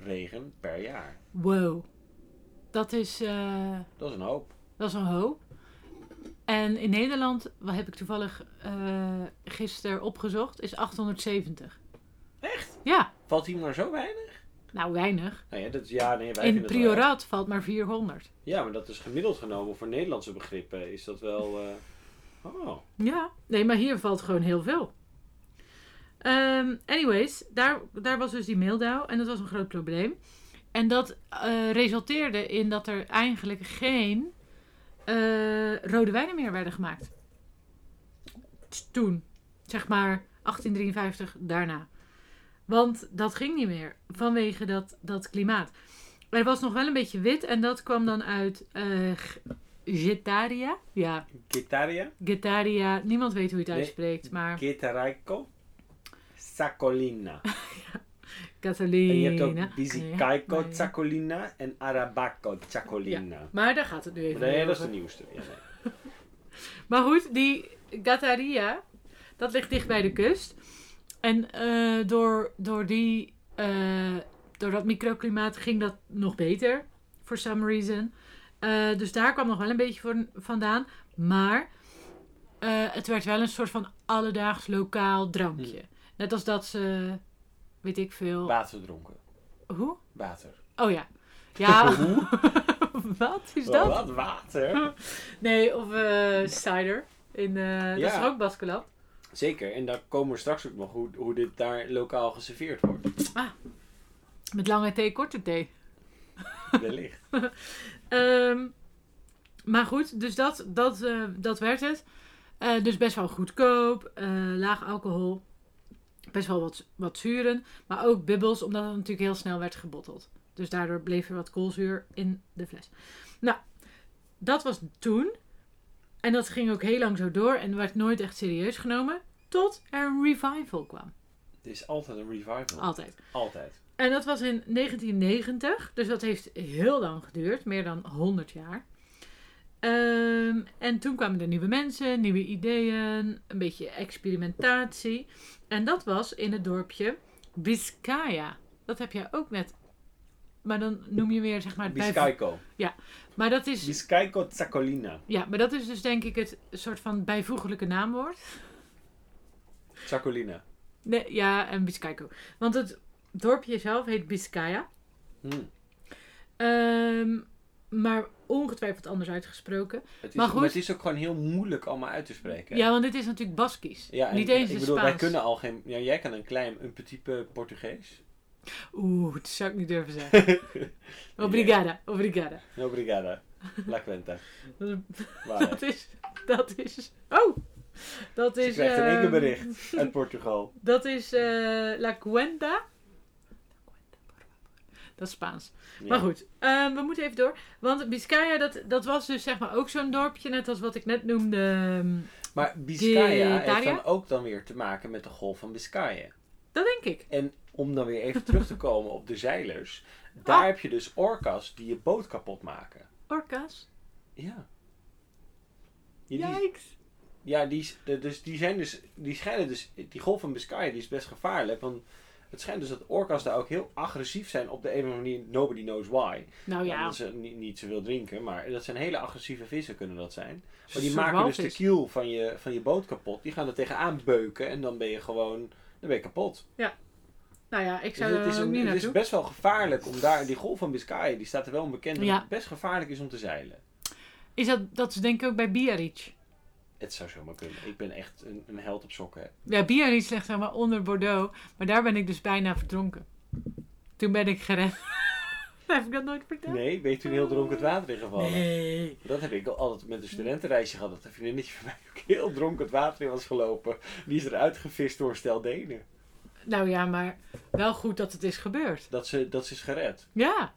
[SPEAKER 1] regen per jaar.
[SPEAKER 2] Wow, dat is, eh,
[SPEAKER 1] Dat is een hoop.
[SPEAKER 2] dat is een hoop. En in Nederland, wat heb ik toevallig eh gisteren opgezocht, is 870.
[SPEAKER 1] Echt?
[SPEAKER 2] Ja,
[SPEAKER 1] Valt hier maar zo weinig?
[SPEAKER 2] nou weinig.
[SPEAKER 1] Nou ja, dat, ja, nee, wij
[SPEAKER 2] In
[SPEAKER 1] vinden het wel erg.
[SPEAKER 2] prioraat valt maar 400.
[SPEAKER 1] Ja, maar dat is gemiddeld genomen voor Nederlandse begrippen. Is dat wel... eh, Oh,
[SPEAKER 2] Ja. Nee, maar hier valt gewoon heel veel. Ehm, anyways, daar, daar was dus die meeldauw en dat was een groot probleem. En dat eh, resulteerde in dat er eigenlijk geen eh, rode wijnen meer werden gemaakt. Toen, zeg maar 1853 daarna. Want dat ging niet meer vanwege dat, dat klimaat. Er was nog wel een beetje wit en dat kwam dan uit eh G- Getaria. Ja,
[SPEAKER 1] Gitaria?
[SPEAKER 2] Getaria, niemand weet hoe je het
[SPEAKER 1] Nee.
[SPEAKER 2] uitspreekt, maar
[SPEAKER 1] Gitaraico? Sacolina.
[SPEAKER 2] Catalina. Ah,
[SPEAKER 1] En je hebt ook Bizicaico
[SPEAKER 2] Ja, ja.
[SPEAKER 1] Zacolina en Arabaco Zacolina.
[SPEAKER 2] Maar daar gaat het nu even
[SPEAKER 1] Nee,
[SPEAKER 2] niet
[SPEAKER 1] dat is de
[SPEAKER 2] over.
[SPEAKER 1] nieuwste. Ja, nee.
[SPEAKER 2] Maar goed, die Gataria, dat ligt dicht bij de kust. En eh, door, door, die, eh, door dat microklimaat ging dat nog beter, for some reason. Eh, dus daar kwam nog wel een beetje voor, vandaan. Maar eh, het werd wel een soort van alledaags lokaal
[SPEAKER 1] Hmm.
[SPEAKER 2] drankje. Net als dat ze, weet ik veel...
[SPEAKER 1] Water dronken.
[SPEAKER 2] Hoe?
[SPEAKER 1] Water.
[SPEAKER 2] Oh ja. Ja. <laughs> Wat is dat?
[SPEAKER 1] Oh, Wat? Water?
[SPEAKER 2] Nee, of eh, cider. In, eh, Dat is
[SPEAKER 1] Ja.
[SPEAKER 2] er ook Baskeland.
[SPEAKER 1] Zeker, en daar komen we straks ook nog hoe, hoe dit daar lokaal geserveerd
[SPEAKER 2] <laughs>
[SPEAKER 1] wordt.
[SPEAKER 2] Met lange thee, korte thee.
[SPEAKER 1] Wellicht.
[SPEAKER 2] Ehm, maar goed, dus dat, dat, eh, dat werd het. Eh, dus best wel goedkoop, eh, laag alcohol. Best wel wat, wat zuren. Maar ook bubbels, omdat het natuurlijk heel snel werd gebotteld. Dus daardoor bleef er wat koolzuur in de fles. Nou, dat was toen. En dat ging ook heel lang zo door en werd nooit echt serieus genomen. Tot er een revival kwam.
[SPEAKER 1] Het is altijd een revival.
[SPEAKER 2] Altijd.
[SPEAKER 1] Altijd.
[SPEAKER 2] En dat was in 1990, dus dat heeft heel lang geduurd, meer dan 100 jaar. Ehm, en toen kwamen er nieuwe mensen, nieuwe ideeën, een beetje experimentatie. En dat was in het dorpje Biscaya. Dat heb jij ook net. Maar dan noem je weer, zeg maar, het bij-
[SPEAKER 1] Biscaico.
[SPEAKER 2] Maar dat is,
[SPEAKER 1] Biscaico Zacolina.
[SPEAKER 2] ja, maar dat is dus denk ik het soort van bijvoeglijke naamwoord.
[SPEAKER 1] Zacolina.
[SPEAKER 2] Nee, ja, en Biscayco. Want het dorpje zelf heet Biscaya.
[SPEAKER 1] Hm.
[SPEAKER 2] Ehm, maar ongetwijfeld anders uitgesproken.
[SPEAKER 1] Het is,
[SPEAKER 2] Maar
[SPEAKER 1] maar,
[SPEAKER 2] goed.
[SPEAKER 1] het is ook gewoon heel moeilijk allemaal uit te spreken.
[SPEAKER 2] Ja, want dit is natuurlijk Baskisch.
[SPEAKER 1] Ja, en
[SPEAKER 2] Niet eens
[SPEAKER 1] ik
[SPEAKER 2] het
[SPEAKER 1] bedoel,
[SPEAKER 2] Spaans.
[SPEAKER 1] wij kunnen al geen... Ja, jij kan een klein, een petit peu Portugees.
[SPEAKER 2] Oeh, dat zou ik niet durven zeggen.
[SPEAKER 1] <laughs>
[SPEAKER 2] obrigada, obrigada.
[SPEAKER 1] No,
[SPEAKER 2] <laughs>
[SPEAKER 1] Obrigada. La cuenta.
[SPEAKER 2] Dat is-
[SPEAKER 1] Waar.
[SPEAKER 2] Dat is... Dat is... Oh! Dat
[SPEAKER 1] Ze
[SPEAKER 2] is...
[SPEAKER 1] krijgt in één
[SPEAKER 2] ehm,
[SPEAKER 1] keer bericht uit Portugal.
[SPEAKER 2] Dat is eh, La Cuenta. Dat is Spaans.
[SPEAKER 1] Ja.
[SPEAKER 2] Maar goed, ehm, we moeten even door. Want Biscaya, dat, dat was dus zeg maar ook zo'n dorpje, net als wat ik net noemde. ehm,
[SPEAKER 1] Maar Biscaya heeft
[SPEAKER 2] Gitaria?
[SPEAKER 1] dan ook dan weer te maken met de golf van Biscayen.
[SPEAKER 2] Dat denk ik.
[SPEAKER 1] En om dan weer even terug te komen op de zeilers. Daar
[SPEAKER 2] Ah.
[SPEAKER 1] heb je dus orcas die je boot kapot maken.
[SPEAKER 2] Orka's.
[SPEAKER 1] Ja. Ja, die,
[SPEAKER 2] Yikes.
[SPEAKER 1] ja, die, is- de- dus, die zijn dus, die schijnen dus, die golf van Biscaya die is best gevaarlijk. Want Het schijnt dus dat orka's daar ook heel agressief zijn op de ene manier. Nobody knows why.
[SPEAKER 2] Nou ja,
[SPEAKER 1] Omdat ze niet, niet zoveel drinken. Maar dat zijn hele agressieve vissen kunnen dat zijn. Maar
[SPEAKER 2] een
[SPEAKER 1] die
[SPEAKER 2] soort
[SPEAKER 1] maken dus de
[SPEAKER 2] walvis.
[SPEAKER 1] kiel van je, van je boot kapot. Die gaan er tegenaan beuken. En dan ben je gewoon dan ben je kapot.
[SPEAKER 2] Nou ja, ik
[SPEAKER 1] Dus
[SPEAKER 2] zou
[SPEAKER 1] het is,
[SPEAKER 2] er ook
[SPEAKER 1] een-
[SPEAKER 2] niet
[SPEAKER 1] het is
[SPEAKER 2] naartoe.
[SPEAKER 1] best wel gevaarlijk om daar... Die golf van Biscayen, die staat er wel bekend. Dat
[SPEAKER 2] Ja.
[SPEAKER 1] het best gevaarlijk is om te zeilen.
[SPEAKER 2] Is dat, dat is denk ik ook bij Biarritz.
[SPEAKER 1] Het zou zomaar kunnen. Ik ben echt een, een held op sokken.
[SPEAKER 2] Ja, Biarritz ligt zeg maar onder Bordeaux. Maar daar ben ik dus bijna verdronken. Toen ben ik gered. <laughs> Heb ik dat nooit verteld?
[SPEAKER 1] Nee, ben je toen heel dronken het water ingevallen?
[SPEAKER 2] Nee.
[SPEAKER 1] Dat heb ik al altijd met een studentenreisje gehad. Dat een vriendinnetje van mij ook heel dronken het water in was gelopen. Die is eruit gevist door een stel Denen.
[SPEAKER 2] Nou ja, maar wel goed dat het is gebeurd.
[SPEAKER 1] Dat ze, dat ze is gered.
[SPEAKER 2] Ja.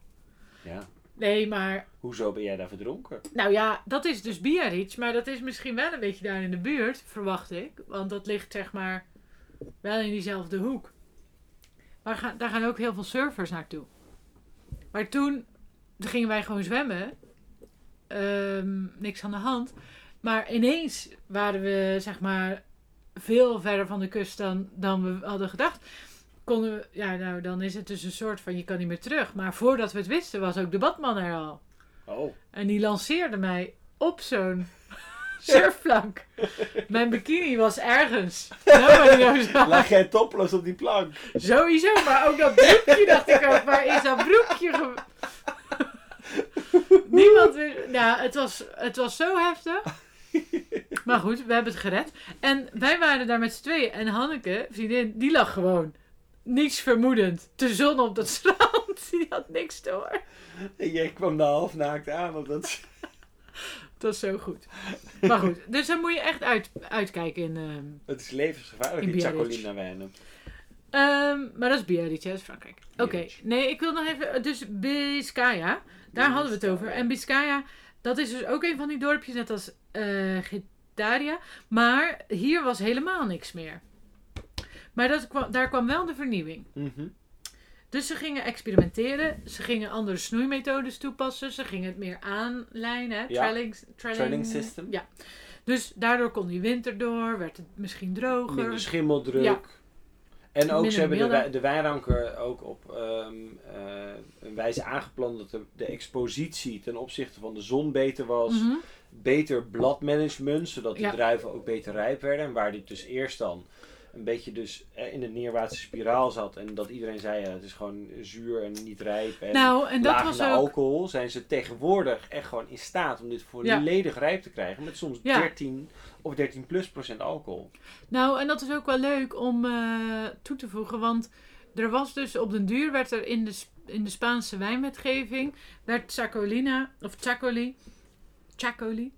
[SPEAKER 1] Ja.
[SPEAKER 2] Nee, maar...
[SPEAKER 1] Hoezo ben jij daar verdronken?
[SPEAKER 2] Nou ja, dat is dus Biarritz. Maar dat is misschien wel een beetje daar in de buurt, verwacht ik. Want dat ligt zeg maar wel in diezelfde hoek. Maar ga- daar gaan ook heel veel surfers naartoe. Maar toen gingen wij gewoon zwemmen. Ehm, niks aan de hand. Maar ineens waren we, zeg maar, veel verder van de kust dan, dan we hadden gedacht. Konden we, ja, nou, dan is het dus een soort van, je kan niet meer terug. Maar voordat we het wisten, was ook de badman er al. <laughs>
[SPEAKER 1] Oh.
[SPEAKER 2] En die lanceerde mij op zo'n <laughs> surfplank. Mijn bikini was ergens. Nou, Nobody
[SPEAKER 1] <laughs>
[SPEAKER 2] knows why.
[SPEAKER 1] Lag jij toppeloos op die plank?
[SPEAKER 2] Sowieso, maar ook dat broekje dacht ik ook. Waar is dat broekje? Ge... <laughs> Niemand wist... Nou, het was, het was zo heftig. Maar goed, we hebben het gered. En wij waren daar met z'n tweeën. En Hanneke, vriendin, die lag gewoon. Niets vermoedend. De zon op dat <laughs> strand. Die had niks door.
[SPEAKER 1] En jij kwam daar half naakt aan. Op dat...
[SPEAKER 2] Dat is zo goed. Maar goed, dus daar moet je echt uit, uitkijken in. ehm.
[SPEAKER 1] Het is levensgevaarlijk,
[SPEAKER 2] In
[SPEAKER 1] die
[SPEAKER 2] Biarritz.
[SPEAKER 1] Chacolina wijnen.
[SPEAKER 2] Ehm, maar dat is Biarritz, hè, dat is Frankrijk. Oké,
[SPEAKER 1] Biarritz.
[SPEAKER 2] nee, ik wil nog even. Dus Biscaya, daar hadden we het over. En Biscaya, dat is dus ook een van die dorpjes, net als eh Gitaria. Maar hier was helemaal niks meer. Maar dat kwam, daar kwam wel de vernieuwing.
[SPEAKER 1] Mhm.
[SPEAKER 2] Dus ze gingen experimenteren. Ze gingen andere snoeimethodes toepassen. Ze gingen het meer aanlijnen. Hè?
[SPEAKER 1] Ja.
[SPEAKER 2] Trailing, trailing,
[SPEAKER 1] Trailing system.
[SPEAKER 2] Ja. Dus daardoor kon die winter door. Werd het misschien droger.
[SPEAKER 1] Minder schimmeldruk.
[SPEAKER 2] Ja.
[SPEAKER 1] En ook,
[SPEAKER 2] Minder
[SPEAKER 1] ze hebben de,
[SPEAKER 2] milde.
[SPEAKER 1] wij- de wijnranken ook op ehm, eh, een wijze aangeplant dat de, de expositie ten opzichte van de zon beter was.
[SPEAKER 2] Mhm.
[SPEAKER 1] Beter bladmanagement, zodat de
[SPEAKER 2] Ja.
[SPEAKER 1] druiven ook beter rijp werden. En waar dit dus eerst dan een beetje dus eh, in de neerwaartse spiraal zat. En dat iedereen zei, ja, het is gewoon zuur en niet rijp. En
[SPEAKER 2] Nou, en dat
[SPEAKER 1] laag
[SPEAKER 2] was
[SPEAKER 1] in de
[SPEAKER 2] ook.
[SPEAKER 1] alcohol zijn ze tegenwoordig echt gewoon in staat om dit
[SPEAKER 2] Ja.
[SPEAKER 1] volledig rijp te krijgen. Met soms
[SPEAKER 2] Ja.
[SPEAKER 1] 13 of 13 plus procent alcohol.
[SPEAKER 2] Nou, en dat is ook wel leuk om eh, toe te voegen. Want er was dus op den duur werd er in de, Sp- in de Spaanse wijnwetgeving werd Chacolina, of Chacoli, Chacoli,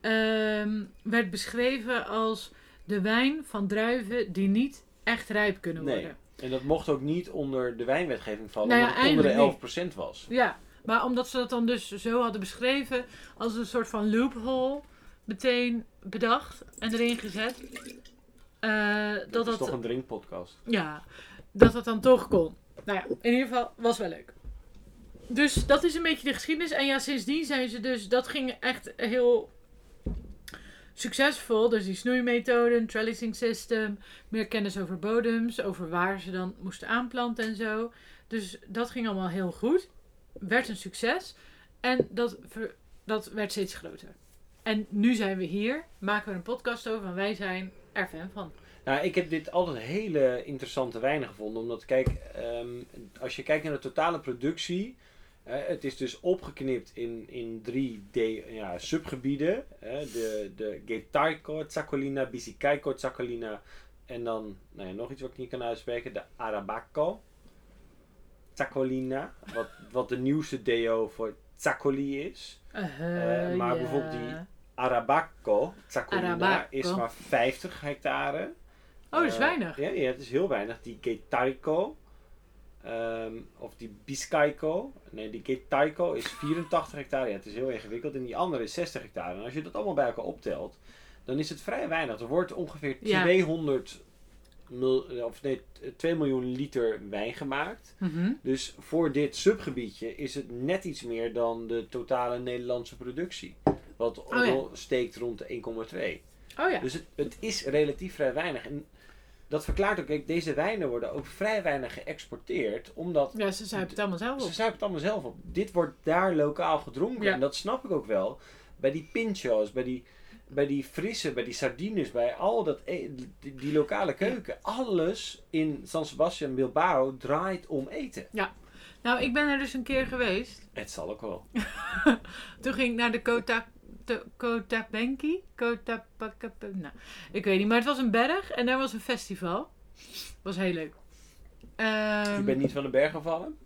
[SPEAKER 2] ehm, werd beschreven als de wijn van druiven die niet echt rijp kunnen
[SPEAKER 1] Nee.
[SPEAKER 2] worden.
[SPEAKER 1] En dat mocht ook niet onder de wijnwetgeving vallen,
[SPEAKER 2] Nou ja,
[SPEAKER 1] omdat het onder de 11%
[SPEAKER 2] eindelijk
[SPEAKER 1] was.
[SPEAKER 2] Ja, maar omdat ze dat dan dus zo hadden beschreven als een soort van loophole meteen bedacht en erin gezet. eh,
[SPEAKER 1] Dat,
[SPEAKER 2] dat
[SPEAKER 1] is
[SPEAKER 2] dat
[SPEAKER 1] toch een drinkpodcast.
[SPEAKER 2] Ja, dat dat dan toch kon. Nou ja, in ieder geval was wel leuk. Dus dat is een beetje de geschiedenis. En ja, sindsdien zijn ze dus, dat ging echt heel succesvol. Dus die snoeimethode, een trellising system, meer kennis over bodems, over waar ze dan moesten aanplanten en zo. Dus dat ging allemaal heel goed. Werd een succes. En dat, ver- dat werd steeds groter. En nu zijn we hier, maken we een podcast over en wij zijn er fan van.
[SPEAKER 1] Nou, ik heb dit altijd hele interessante wijnen gevonden. Omdat, kijk, ehm, als je kijkt naar de totale productie. eh, het is dus opgeknipt in, in drie de, ja, subgebieden. eh, de, de Getaico Tsakolina, Bisicaiko Tsakolina. En dan nou ja, nog iets wat ik niet kan uitspreken. De Arabaco Tsakolina. Wat, wat de nieuwste DO voor Tsakoli is.
[SPEAKER 2] Eh,
[SPEAKER 1] Eh, maar
[SPEAKER 2] ja.
[SPEAKER 1] bijvoorbeeld die- Arabaco, Tsakolina,
[SPEAKER 2] Arabaco.
[SPEAKER 1] is maar 50 hectare.
[SPEAKER 2] Oh, dat is
[SPEAKER 1] Eh,
[SPEAKER 2] weinig.
[SPEAKER 1] ja, ja, het is heel weinig. Die Getaico, ehm, of die Biscaico. Nee, die Getaico is 84 hectare. Ja, het is heel ingewikkeld. En die andere is 60 hectare. En als je dat allemaal bij elkaar optelt, dan is het vrij weinig. Er wordt ongeveer
[SPEAKER 2] Ja.
[SPEAKER 1] 200 mil, of nee, 2 miljoen liter wijn gemaakt.
[SPEAKER 2] Mhm.
[SPEAKER 1] Dus voor dit subgebiedje is het net iets meer dan de totale Nederlandse productie. Wat
[SPEAKER 2] Oh ja.
[SPEAKER 1] al steekt rond de 1,2.
[SPEAKER 2] Oh ja.
[SPEAKER 1] Dus het, het is relatief vrij weinig. En dat verklaart ook, kijk, deze wijnen worden ook vrij weinig geëxporteerd, omdat
[SPEAKER 2] Ja, ze zuipen het allemaal zelf op.
[SPEAKER 1] ze zuipen het allemaal zelf op. Dit wordt daar lokaal gedronken.
[SPEAKER 2] Ja.
[SPEAKER 1] En dat snap ik ook wel. Bij die pincho's, bij die, bij die frissen, bij die sardines, bij al dat, e- die, die lokale keuken. Alles in San Sebastian en Bilbao draait om eten.
[SPEAKER 2] Nou, ik ben er dus een keer geweest.
[SPEAKER 1] Het zal ook wel.
[SPEAKER 2] Toen ging ik naar de Kota, de Kota Benki. Kota Nou, ik weet niet, maar het was een berg en daar was een festival. Was heel leuk. Ehm,
[SPEAKER 1] Je bent niet van de berg gevallen.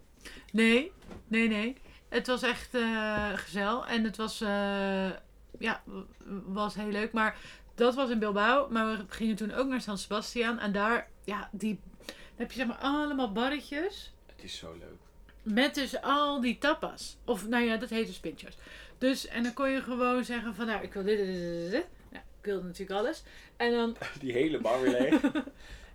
[SPEAKER 2] Nee, nee, nee. Het was echt eh, gezel en het was, eh, ja, w- was heel leuk. Maar dat was in Bilbao, maar we gingen toen ook naar San Sebastian. En daar, ja, die, daar heb je zeg maar allemaal barretjes
[SPEAKER 1] Het is zo leuk. <laughs>
[SPEAKER 2] met dus al die tapas. Of nou ja, dat heet dus pinchos. Dus, en dan kon je gewoon zeggen van, nou, ik wil dit, dit, dit, dit, dit. Nou, ik wilde natuurlijk alles. En dan <laughs>
[SPEAKER 1] Die hele bar weer leeg.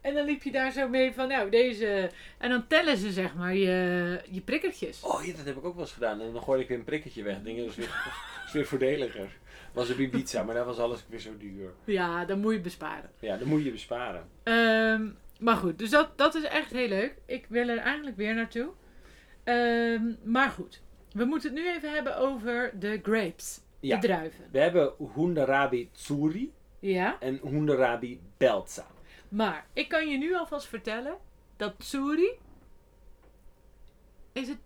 [SPEAKER 2] en dan liep je daar zo mee van, nou, deze. En dan tellen ze, zeg maar, je, je prikkertjes.
[SPEAKER 1] Oh ja, dat heb ik ook wel eens gedaan. En dan gooi ik weer een prikketje weg. Denk, ik, dat is weer, dat is weer voordeliger. Was op Ibiza, maar daar was alles weer zo duur.
[SPEAKER 2] Ja, dan moet je besparen.
[SPEAKER 1] Ja, dan moet je besparen.
[SPEAKER 2] Ehm, maar goed, dus dat, dat is echt heel leuk. Ik wil er eigenlijk weer naartoe. Ehm, maar goed, we moeten het nu even hebben over de grapes.
[SPEAKER 1] Ja.
[SPEAKER 2] De druiven.
[SPEAKER 1] We hebben Hundarabi Tsuri.
[SPEAKER 2] Ja,
[SPEAKER 1] en Hunderabi Belza.
[SPEAKER 2] maar ik kan je nu alvast vertellen dat tsuri... Is het...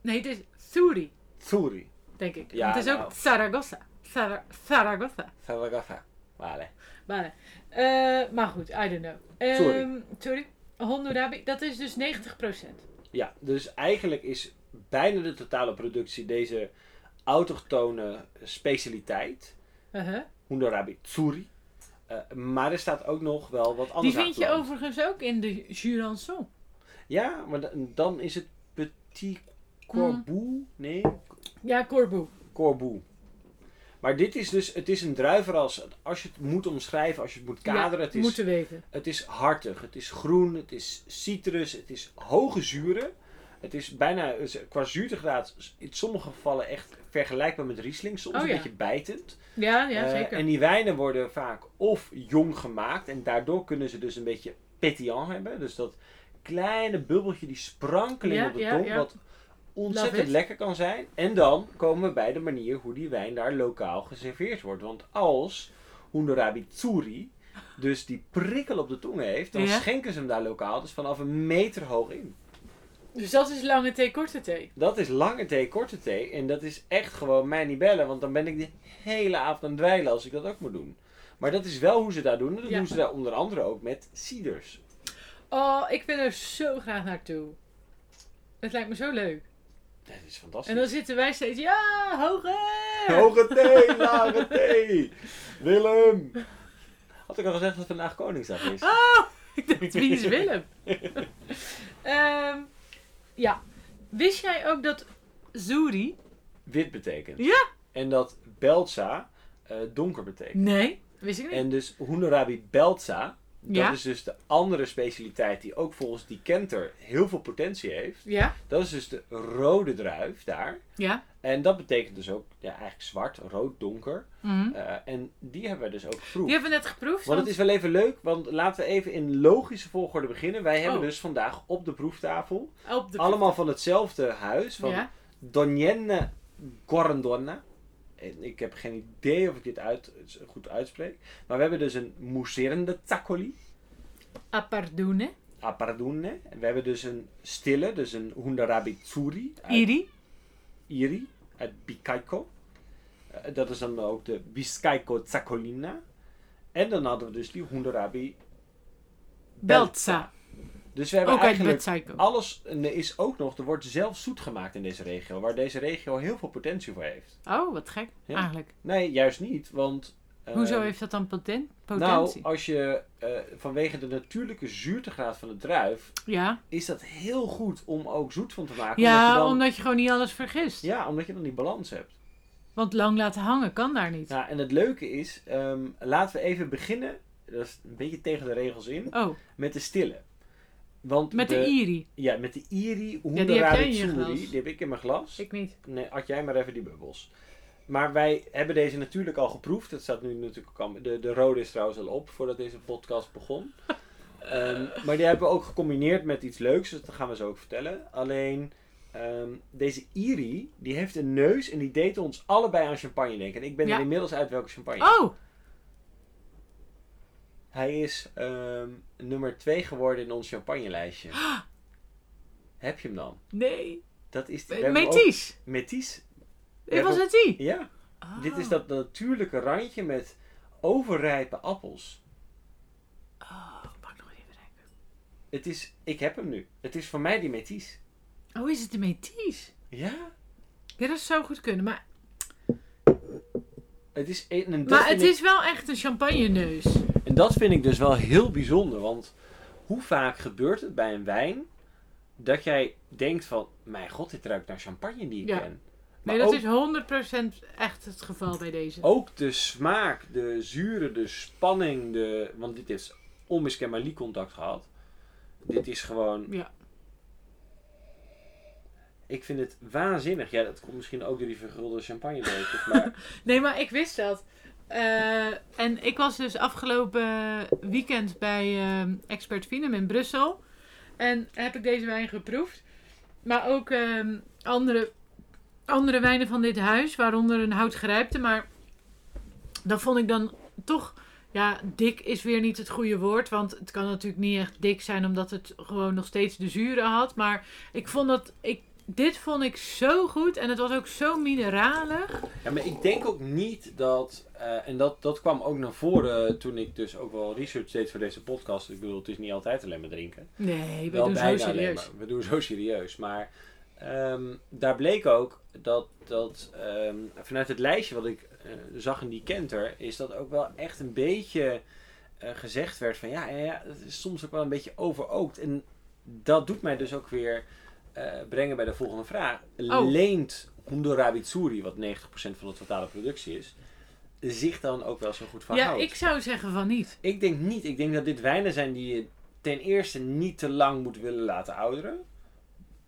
[SPEAKER 2] Nee, het is tsuri,
[SPEAKER 1] Tsuri.
[SPEAKER 2] denk ik.
[SPEAKER 1] Ja,
[SPEAKER 2] Want het is
[SPEAKER 1] nou.
[SPEAKER 2] ook Zaragoza. Zara- Zaragoza.
[SPEAKER 1] Zaragoza. Vale.
[SPEAKER 2] Maar, eh, maar goed, I don't know. Ehm,
[SPEAKER 1] Sorry.
[SPEAKER 2] sorry. Hondorabi, dat is dus 90%.
[SPEAKER 1] Ja, dus eigenlijk is bijna de totale productie deze autochtone specialiteit.
[SPEAKER 2] Uh-huh.
[SPEAKER 1] Hunderabi Tsuri. Eh, maar er staat ook nog wel wat
[SPEAKER 2] Die
[SPEAKER 1] anders aan
[SPEAKER 2] vind je
[SPEAKER 1] verwant.
[SPEAKER 2] overigens ook in de Jurançon.
[SPEAKER 1] Ja, maar da- dan is het Petit Corbu.
[SPEAKER 2] Hmm.
[SPEAKER 1] Nee,
[SPEAKER 2] Ja, Corbu.
[SPEAKER 1] Corbu. Maar dit is dus, het is een druivenras. Als je het moet omschrijven, als je het moet kaderen.
[SPEAKER 2] Ja,
[SPEAKER 1] het is
[SPEAKER 2] Moeten weten.
[SPEAKER 1] Het is hartig, het is groen, het is citrus, het is hoge zuren. Het is bijna eh, qua zuurtegraad s- in sommige gevallen echt vergelijkbaar met Riesling, soms
[SPEAKER 2] Oh
[SPEAKER 1] een
[SPEAKER 2] ja.
[SPEAKER 1] beetje bijtend.
[SPEAKER 2] Ja, ja
[SPEAKER 1] Eh,
[SPEAKER 2] zeker.
[SPEAKER 1] en die wijnen worden vaak of jong gemaakt en daardoor kunnen ze dus een beetje pétillant hebben. Dus dat kleine bubbeltje, die sprankeling
[SPEAKER 2] Ja,
[SPEAKER 1] op de
[SPEAKER 2] ja,
[SPEAKER 1] tong,
[SPEAKER 2] ja.
[SPEAKER 1] wat
[SPEAKER 2] Love
[SPEAKER 1] ontzettend
[SPEAKER 2] it.
[SPEAKER 1] lekker kan zijn. En dan komen we bij de manier hoe die wijn daar lokaal geserveerd wordt. Want als Hunderabi Tsuri dus die prikkel op de tong heeft, dan
[SPEAKER 2] Ja.
[SPEAKER 1] schenken ze hem daar lokaal dus vanaf een meter hoog in.
[SPEAKER 2] Dus dat is lange thee, korte thee.
[SPEAKER 1] Dat is lange thee, korte thee. En dat is echt gewoon mij niet bellen. Want dan ben ik de hele avond aan het dweilen als ik dat ook moet doen. Maar dat is wel hoe ze daar doen. En dat
[SPEAKER 2] Ja.
[SPEAKER 1] doen ze daar onder andere ook met ciders.
[SPEAKER 2] Oh, ik wil er zo graag naartoe. Het lijkt me zo leuk.
[SPEAKER 1] Dat is fantastisch.
[SPEAKER 2] En dan zitten wij steeds, ja, hoger!
[SPEAKER 1] Hoge thee, lage thee. Willem. Had ik al gezegd dat vandaag Koningsdag is?
[SPEAKER 2] Ah. Oh, <laughs> Ik dacht, wie
[SPEAKER 1] <laughs>
[SPEAKER 2] is Willem? <laughs> Ehm, ja. Wist jij ook dat Zuri...
[SPEAKER 1] Wit betekent.
[SPEAKER 2] Ja.
[SPEAKER 1] En dat Belza eh, donker betekent.
[SPEAKER 2] Nee, wist ik niet.
[SPEAKER 1] En dus Hoenerabi Belza. Dat
[SPEAKER 2] Ja.
[SPEAKER 1] is dus de andere specialiteit die ook volgens die Kenter heel veel potentie heeft.
[SPEAKER 2] Ja,
[SPEAKER 1] Dat is dus de rode druif daar.
[SPEAKER 2] ja.
[SPEAKER 1] En dat betekent dus ook ja, eigenlijk zwart, rood, donker.
[SPEAKER 2] Mhm.
[SPEAKER 1] Eh, en die hebben we dus ook geproefd.
[SPEAKER 2] Die hebben we net geproefd.
[SPEAKER 1] Want het is wel even leuk, want laten we even in logische volgorde beginnen. Wij hebben
[SPEAKER 2] Oh.
[SPEAKER 1] dus vandaag op de proeftafel,
[SPEAKER 2] want op de
[SPEAKER 1] allemaal van hetzelfde huis, van
[SPEAKER 2] Ja.
[SPEAKER 1] Donienne Gorondona. En ik heb geen idee of ik dit uit, goed uitspreek. Maar we hebben dus een mousserende taccoli,
[SPEAKER 2] Apardune.
[SPEAKER 1] a pardone. En we hebben dus een stille, dus een Hundarabi Tsuri. uit
[SPEAKER 2] Iri.
[SPEAKER 1] Iri uit Bicaiko. Eh, dat is dan ook de Biscaico Tsakolina. En dan hadden we dus die Hunderabi.
[SPEAKER 2] Beltza.
[SPEAKER 1] Dus we hebben
[SPEAKER 2] Ook uit
[SPEAKER 1] eigenlijk
[SPEAKER 2] Beltsaiko.
[SPEAKER 1] alles. En er is ook nog, er wordt zelf zoet gemaakt in deze regio. Waar deze regio heel veel potentie voor heeft.
[SPEAKER 2] Oh, wat gek.
[SPEAKER 1] Ja.
[SPEAKER 2] Eigenlijk.
[SPEAKER 1] Nee, juist niet, want... eh,
[SPEAKER 2] Hoezo heeft dat dan poten-
[SPEAKER 1] Nou,
[SPEAKER 2] potentie?
[SPEAKER 1] als je eh, vanwege de natuurlijke zuurtegraad van de druif...
[SPEAKER 2] ja,
[SPEAKER 1] is dat heel goed om ook zoet van te maken.
[SPEAKER 2] ja
[SPEAKER 1] omdat je dan,
[SPEAKER 2] omdat je gewoon niet alles vergist.
[SPEAKER 1] ja omdat je dan die balans hebt.
[SPEAKER 2] Want lang laten hangen kan daar niet.
[SPEAKER 1] Ja, Nou, en het leuke is, ehm, laten we even beginnen, dat is een beetje tegen de regels in,
[SPEAKER 2] Oh,
[SPEAKER 1] met de stille. Want
[SPEAKER 2] met de, Iri.
[SPEAKER 1] Ja, met de Iri,
[SPEAKER 2] jij in
[SPEAKER 1] Hoenderade
[SPEAKER 2] je
[SPEAKER 1] Tsuri,
[SPEAKER 2] glas.
[SPEAKER 1] die heb ik in mijn glas.
[SPEAKER 2] Ik niet.
[SPEAKER 1] Nee, had jij maar even die bubbels. Maar wij hebben deze natuurlijk al geproefd. Dat staat nu natuurlijk ook al. De, de rode is trouwens al op voordat deze podcast begon. Ehm, maar die hebben we ook gecombineerd met iets leuks, dus dat gaan we zo ook vertellen. Alleen, ehm, deze Iri, die heeft een neus en die deed ons allebei aan champagne denken. En ik ben
[SPEAKER 2] Ja.
[SPEAKER 1] er inmiddels uit welke champagne.
[SPEAKER 2] Oh,
[SPEAKER 1] Hij is ehm, nummer 2 geworden in ons
[SPEAKER 2] <gasps>
[SPEAKER 1] champagnelijstje. Heb je hem dan?
[SPEAKER 2] nee.
[SPEAKER 1] Dat is we hebben hem ook-
[SPEAKER 2] Metis.
[SPEAKER 1] Métis. We
[SPEAKER 2] Dit was
[SPEAKER 1] hebben-
[SPEAKER 2] een tea.
[SPEAKER 1] Ja,
[SPEAKER 2] Oh.
[SPEAKER 1] dit is dat natuurlijke randje met overrijpe appels.
[SPEAKER 2] Oh, pak nog even denken.
[SPEAKER 1] Het is, ik heb hem nu. Het is voor mij die Métis.
[SPEAKER 2] Oh, is het de Metis?
[SPEAKER 1] Ja,
[SPEAKER 2] Ja, dat zou goed kunnen. Maar,
[SPEAKER 1] het is een, en dat
[SPEAKER 2] maar
[SPEAKER 1] vind
[SPEAKER 2] het
[SPEAKER 1] ik-
[SPEAKER 2] is wel echt een champagne neus.
[SPEAKER 1] En dat vind ik dus wel heel bijzonder. Want hoe vaak gebeurt het bij een wijn dat jij denkt van... Mijn god, dit ruikt naar champagne die ik
[SPEAKER 2] Ja.
[SPEAKER 1] ken. Maar
[SPEAKER 2] Nee, dat
[SPEAKER 1] ook, Oh.
[SPEAKER 2] is 100% echt het geval bij deze.
[SPEAKER 1] ook de smaak, de zure, de spanning. De, want dit is onmiskenbaar liecontact gehad. Dit is gewoon...
[SPEAKER 2] Ja.
[SPEAKER 1] Ik vind het waanzinnig. Ja, dat komt misschien ook door die vergulde champagne Maar
[SPEAKER 2] Nee, maar ik wist dat. Eh, en ik was dus afgelopen weekend bij ehm, Expert Vinum in Brussel. En heb ik deze wijn geproefd. Maar ook ehm, andere, andere wijnen van dit huis, waaronder een houtgrijpte. Maar dat vond ik dan toch... Ja, dik is weer niet het goede woord. Want het kan natuurlijk niet echt dik zijn, omdat het gewoon nog steeds de zure had. Maar ik vond dat... Ik, dit vond ik zo goed. En het was ook zo mineralig.
[SPEAKER 1] Ja, maar ik denk ook niet dat. eh, en dat, dat kwam ook naar voren toen ik dus ook wel research deed voor deze podcast. Ik bedoel, het is niet altijd alleen maar drinken.
[SPEAKER 2] Nee, we
[SPEAKER 1] wel
[SPEAKER 2] doen zo
[SPEAKER 1] bijna alleen
[SPEAKER 2] serieus.
[SPEAKER 1] maar. We doen zo serieus. Maar ehm, daar bleek ook dat, dat ehm, vanuit het lijstje wat ik eh, zag in die kenter, is dat ook wel echt een beetje eh, gezegd werd van ja, ja, ja, het is soms ook wel een beetje overookt. En dat doet mij dus ook weer eh, brengen bij de volgende vraag.
[SPEAKER 2] Oh.
[SPEAKER 1] Leent Hondorabitsuri, wat 90% van de totale productie is, zich dan ook wel zo goed
[SPEAKER 2] Ja,
[SPEAKER 1] verhoudt?
[SPEAKER 2] ik zou zeggen van niet.
[SPEAKER 1] Ik denk niet. Ik denk dat dit wijnen zijn die je ten eerste niet te lang moet willen laten ouderen.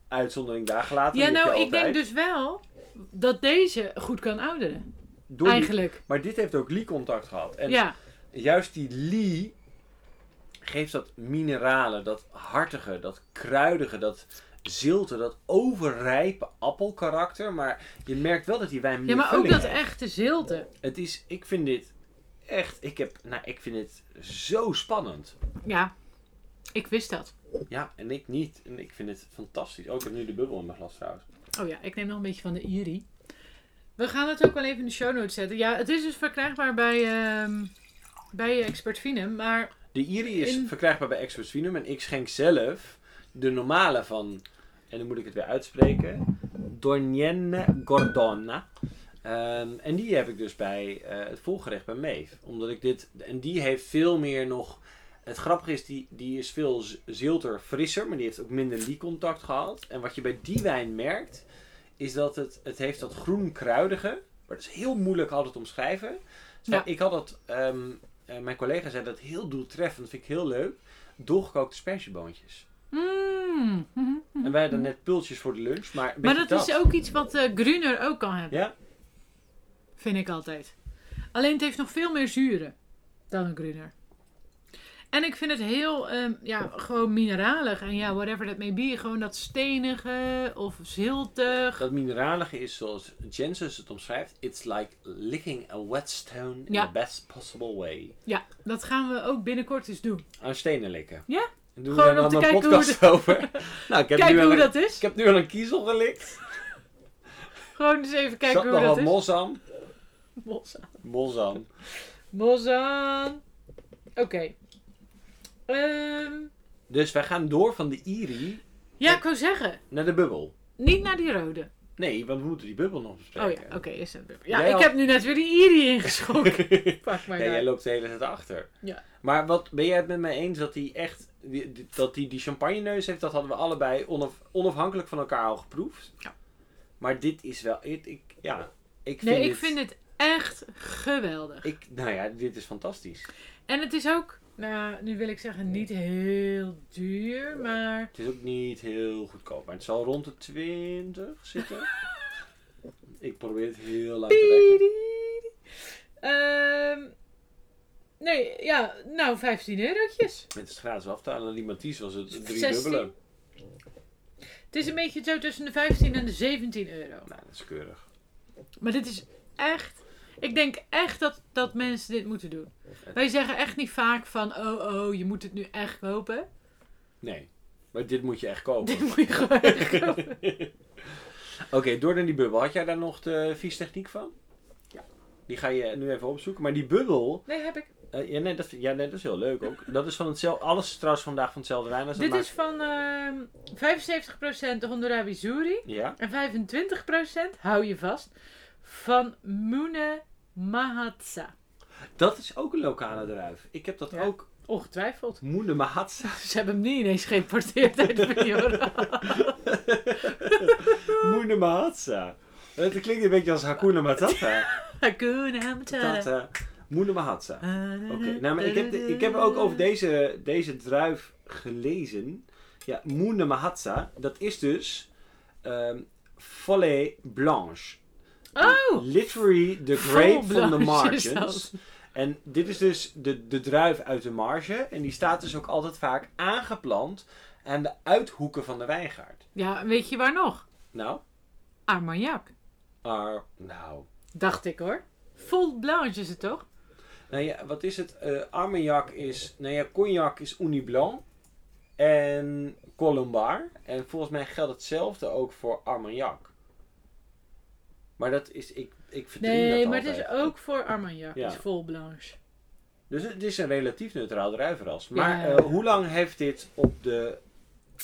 [SPEAKER 1] Uitzondering daar gelaten.
[SPEAKER 2] Ja,
[SPEAKER 1] die heb
[SPEAKER 2] nou,
[SPEAKER 1] je
[SPEAKER 2] ik denk
[SPEAKER 1] altijd.
[SPEAKER 2] dus wel dat deze goed kan ouderen.
[SPEAKER 1] Door die-
[SPEAKER 2] eigenlijk.
[SPEAKER 1] Maar dit heeft ook Lee-contact gehad. En
[SPEAKER 2] Ja,
[SPEAKER 1] juist die Lee geeft dat mineralen, dat hartige, dat kruidige, dat zilte, dat overrijpe appelkarakter. Maar je merkt wel dat die wijn
[SPEAKER 2] ja
[SPEAKER 1] meer
[SPEAKER 2] maar ook
[SPEAKER 1] vulling
[SPEAKER 2] dat
[SPEAKER 1] heeft.
[SPEAKER 2] echte zilte.
[SPEAKER 1] Het is, ik vind dit echt, ik heb, nou, ik vind dit zo spannend.
[SPEAKER 2] Ja, ik wist dat.
[SPEAKER 1] Ja, en ik niet. En ik vind het fantastisch. Ook heb nu de bubbel in mijn glas trouwens.
[SPEAKER 2] Oh ja, ik neem nog een beetje van de Iri. We gaan het ook wel even in de show notes zetten. Ja, het is dus verkrijgbaar bij, ehm bij Expert Vinum. Maar
[SPEAKER 1] De Iri is
[SPEAKER 2] In-
[SPEAKER 1] verkrijgbaar bij Expert Vinum en ik schenk zelf de normale van, en dan moet ik het weer uitspreken, Dornienne Gordona. Ehm, en die heb ik dus bij eh, het volgerecht bij Meef. Omdat ik dit, en die heeft veel meer nog, het grappige is, die, die is veel z- zilter, frisser, maar die heeft ook minder liecontact gehad. En wat je bij die wijn merkt, is dat het, het heeft dat groen kruidige, maar dat is heel moeilijk altijd omschrijven. Dus
[SPEAKER 2] Ja.
[SPEAKER 1] Ik had dat ehm, eh, mijn collega zei dat heel doeltreffend, vind ik heel leuk. Doorgekookte spersieboontjes.
[SPEAKER 2] mm, mhm.
[SPEAKER 1] En wij hadden net pultjes voor de lunch, maar een
[SPEAKER 2] maar
[SPEAKER 1] beetje
[SPEAKER 2] dat, is ook iets wat eh, Gruner ook kan hebben,
[SPEAKER 1] Ja?
[SPEAKER 2] vind ik altijd. Alleen het heeft nog veel meer zuren dan een Gruner. En ik vind het heel, ehm, ja, gewoon mineralig. En ja, whatever that may be. Gewoon dat stenige of ziltig.
[SPEAKER 1] Dat mineralige is zoals Jensus het omschrijft. It's like licking a whetstone in
[SPEAKER 2] Ja.
[SPEAKER 1] the best possible way.
[SPEAKER 2] Ja, dat gaan we ook binnenkort eens doen.
[SPEAKER 1] Aan stenen likken.
[SPEAKER 2] Ja.
[SPEAKER 1] En doen we
[SPEAKER 2] Gewoon
[SPEAKER 1] daar
[SPEAKER 2] om
[SPEAKER 1] dan
[SPEAKER 2] te
[SPEAKER 1] een
[SPEAKER 2] kijken hoe
[SPEAKER 1] podcast
[SPEAKER 2] <laughs>
[SPEAKER 1] over. nou, ik heb, nu
[SPEAKER 2] Kijken
[SPEAKER 1] al
[SPEAKER 2] hoe
[SPEAKER 1] een,
[SPEAKER 2] dat
[SPEAKER 1] ik
[SPEAKER 2] is.
[SPEAKER 1] heb nu al een kiezel gelikt.
[SPEAKER 2] Gewoon eens even
[SPEAKER 1] Kijk
[SPEAKER 2] <laughs>
[SPEAKER 1] Zat
[SPEAKER 2] kijken hoe
[SPEAKER 1] nog
[SPEAKER 2] dat
[SPEAKER 1] wat
[SPEAKER 2] is.
[SPEAKER 1] mos aan.
[SPEAKER 2] Mozaan.
[SPEAKER 1] Mos aan.
[SPEAKER 2] Mozaan. Oké. Ehm,
[SPEAKER 1] Dus wij gaan door van de Iri
[SPEAKER 2] ja, ik wou zeggen.
[SPEAKER 1] naar de bubbel.
[SPEAKER 2] Niet naar die rode.
[SPEAKER 1] Nee, want we moeten die bubbel nog bespreken.
[SPEAKER 2] Oh ja, oké. is dat Ja,
[SPEAKER 1] Jij
[SPEAKER 2] ik
[SPEAKER 1] had-
[SPEAKER 2] heb nu net weer die Iri
[SPEAKER 1] <laughs>
[SPEAKER 2] ingeschonken. Pak maar
[SPEAKER 1] Ja,
[SPEAKER 2] daar.
[SPEAKER 1] jij loopt de hele tijd achter.
[SPEAKER 2] Ja.
[SPEAKER 1] Maar wat ben jij het met mij eens dat hij echt die, die- dat die, die champagne neus heeft? Dat hadden we allebei onaf- onafhankelijk van elkaar al geproefd.
[SPEAKER 2] Ja.
[SPEAKER 1] Maar dit is wel. Ik, ik- ja, ik vind
[SPEAKER 2] Nee, ik
[SPEAKER 1] dit-
[SPEAKER 2] vind het echt geweldig.
[SPEAKER 1] Ik, nou ja, dit is fantastisch.
[SPEAKER 2] En het is ook, nou, nu wil ik zeggen niet heel duur, maar
[SPEAKER 1] Het is ook niet heel goedkoop, maar het zal rond de 20
[SPEAKER 2] <laughs>
[SPEAKER 1] zitten. ik probeer het heel lang te leggen.
[SPEAKER 2] Ehm, nee, ja, nou 15 eurotjes.
[SPEAKER 1] Het is gratis aftalen. En die Matisse was het drie
[SPEAKER 2] 16.
[SPEAKER 1] dubbele.
[SPEAKER 2] Het is een beetje zo tussen de 15 en de 17 euro.
[SPEAKER 1] Nou, dat is keurig.
[SPEAKER 2] Maar dit is echt. Ik denk echt dat, dat mensen dit moeten doen. Wij zeggen echt niet vaak van: oh, oh, je moet het nu echt kopen. <laughs>
[SPEAKER 1] Nee. Maar dit moet je echt kopen.
[SPEAKER 2] Dit moet je gewoon
[SPEAKER 1] <laughs>
[SPEAKER 2] echt kopen.
[SPEAKER 1] Oké, door naar die bubbel. Had jij daar nog de viestechniek van?
[SPEAKER 2] Ja.
[SPEAKER 1] Die ga je nu even opzoeken. Maar die bubbel,
[SPEAKER 2] Nee, heb ik.
[SPEAKER 1] eh, ja, nee, dat, ja, nee, dat is heel leuk ook. Dat is van hetzelfde, alles is trouwens vandaag van hetzelfde wijn. als dat
[SPEAKER 2] Dit
[SPEAKER 1] maakt-
[SPEAKER 2] is van ehm 75% Hondurabi Zuri.
[SPEAKER 1] Ja,
[SPEAKER 2] En 25% hou je vast. Van Mune Mahatsa.
[SPEAKER 1] dat is ook een lokale druif. Ik heb dat
[SPEAKER 2] Ja.
[SPEAKER 1] ook.
[SPEAKER 2] Ongetwijfeld. <laughs>
[SPEAKER 1] Moene Mahatsa.
[SPEAKER 2] Ze hebben hem niet ineens geïmporteerd uit de
[SPEAKER 1] <laughs> Moene Mahatsa. Het klinkt een beetje als Hakuna
[SPEAKER 2] <laughs>
[SPEAKER 1] Matata.
[SPEAKER 2] Hakuna Matata.
[SPEAKER 1] Tata. Moene Mahatsa. Oké, nou, maar ik heb, de- ik heb ook over deze, deze druif gelezen. Ja, Moene Mahatsa, dat is dus ehm Follet Blanche.
[SPEAKER 2] Oh!
[SPEAKER 1] Literally the
[SPEAKER 2] Vol
[SPEAKER 1] grape from the
[SPEAKER 2] Blanche is
[SPEAKER 1] margins. En dit is dus de, de druif uit de marge. En die staat dus ook altijd vaak aangeplant aan de uithoeken van de wijngaard.
[SPEAKER 2] Ja, weet je waar nog?
[SPEAKER 1] Nou,
[SPEAKER 2] Armagnac.
[SPEAKER 1] ar- nou.
[SPEAKER 2] Dacht ik hoor. Vol blanche is het toch?
[SPEAKER 1] nou ja, wat is het? Eh, Armagnac is, nou ja, cognac is Uniblanc. En Colombard. En volgens mij geldt hetzelfde ook voor Armagnac. Maar dat is, ik, ik verdien dat
[SPEAKER 2] Nee, maar
[SPEAKER 1] altijd.
[SPEAKER 2] het is ook voor Armagnac.
[SPEAKER 1] Ja.
[SPEAKER 2] is vol blanche.
[SPEAKER 1] Dus het is een relatief neutraal druivenras. Maar
[SPEAKER 2] Ja.
[SPEAKER 1] eh, hoe lang heeft dit op de,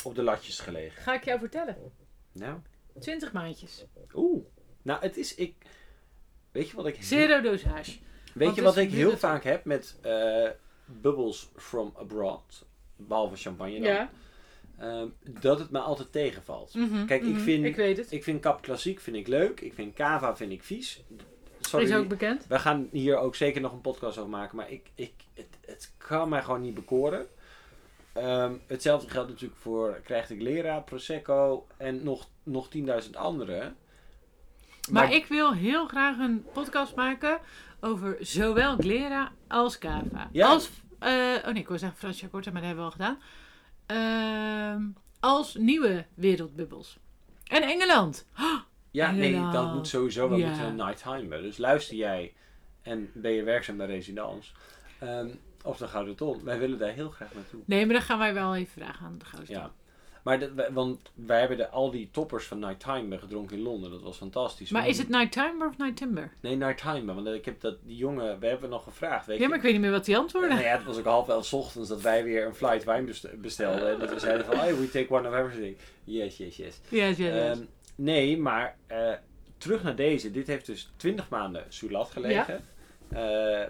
[SPEAKER 1] op de latjes gelegen?
[SPEAKER 2] Ga ik jou vertellen.
[SPEAKER 1] Nou,
[SPEAKER 2] 20 maandjes.
[SPEAKER 1] oeh. Nou, het is ik. Weet je wat ik,
[SPEAKER 2] Zero dosage.
[SPEAKER 1] weet
[SPEAKER 2] want
[SPEAKER 1] je
[SPEAKER 2] het
[SPEAKER 1] wat
[SPEAKER 2] is
[SPEAKER 1] ik heel
[SPEAKER 2] minder-
[SPEAKER 1] vaak heb met eh, bubbles from abroad? Behalve champagne dan.
[SPEAKER 2] Ja.
[SPEAKER 1] ehm, dat het me altijd tegenvalt.
[SPEAKER 2] Mhm,
[SPEAKER 1] Kijk, ik
[SPEAKER 2] mhm.
[SPEAKER 1] vind-
[SPEAKER 2] Ik weet het.
[SPEAKER 1] Ik vind Cap Klassiek vind ik leuk. Ik vind Cava vind ik vies. Sorry.
[SPEAKER 2] Is ook bekend.
[SPEAKER 1] we gaan hier ook zeker nog een podcast over maken. Maar ik, ik, het, het kan mij gewoon niet bekoren. Ehm, hetzelfde geldt natuurlijk voor krijg ik Lera, Prosecco en nog, nog 10.000 andere.
[SPEAKER 2] Maar, ik wil heel graag een podcast maken over zowel Glera als Cava.
[SPEAKER 1] Ja.
[SPEAKER 2] Als, eh, oh nee, ik wil zeggen Francia Corta, maar dat hebben we al gedaan. Ehm, als nieuwe wereldbubbels. En Engeland.
[SPEAKER 1] Ja, nee, dat
[SPEAKER 2] Inderdaad.
[SPEAKER 1] moet sowieso wel
[SPEAKER 2] Ja.
[SPEAKER 1] moeten een nighttime hebben. Dus luister jij en ben je werkzaam bij Residence ehm, of de Gouden Ton. Wij willen daar heel graag naartoe.
[SPEAKER 2] Nee, maar dan gaan wij wel even vragen aan de gozer.
[SPEAKER 1] Ja. Maar Dus dat- wij- want wij hebben de, al die toppers van Nighttime gedronken in Londen. Dat was fantastisch.
[SPEAKER 2] Maar is het Nighttime of Nightimber?
[SPEAKER 1] Nee, Nighttime. Want ik heb dat, die jongen, we hebben nog gevraagd. Weet
[SPEAKER 2] Ja,
[SPEAKER 1] je,
[SPEAKER 2] maar ik weet niet meer wat die antwoorden.
[SPEAKER 1] Nou
[SPEAKER 2] <laughs>
[SPEAKER 1] ja, het was ook half elf 's ochtends dat wij weer een flight wijn best- bestelden. En dat we zeiden van, hey, we take one of everything. Yes, yes, yes.
[SPEAKER 2] Ja, ja, ja.
[SPEAKER 1] Ehm, nee, maar eh, terug naar deze. Dit heeft dus 20 maanden Sulat gelegen. Eh, eh,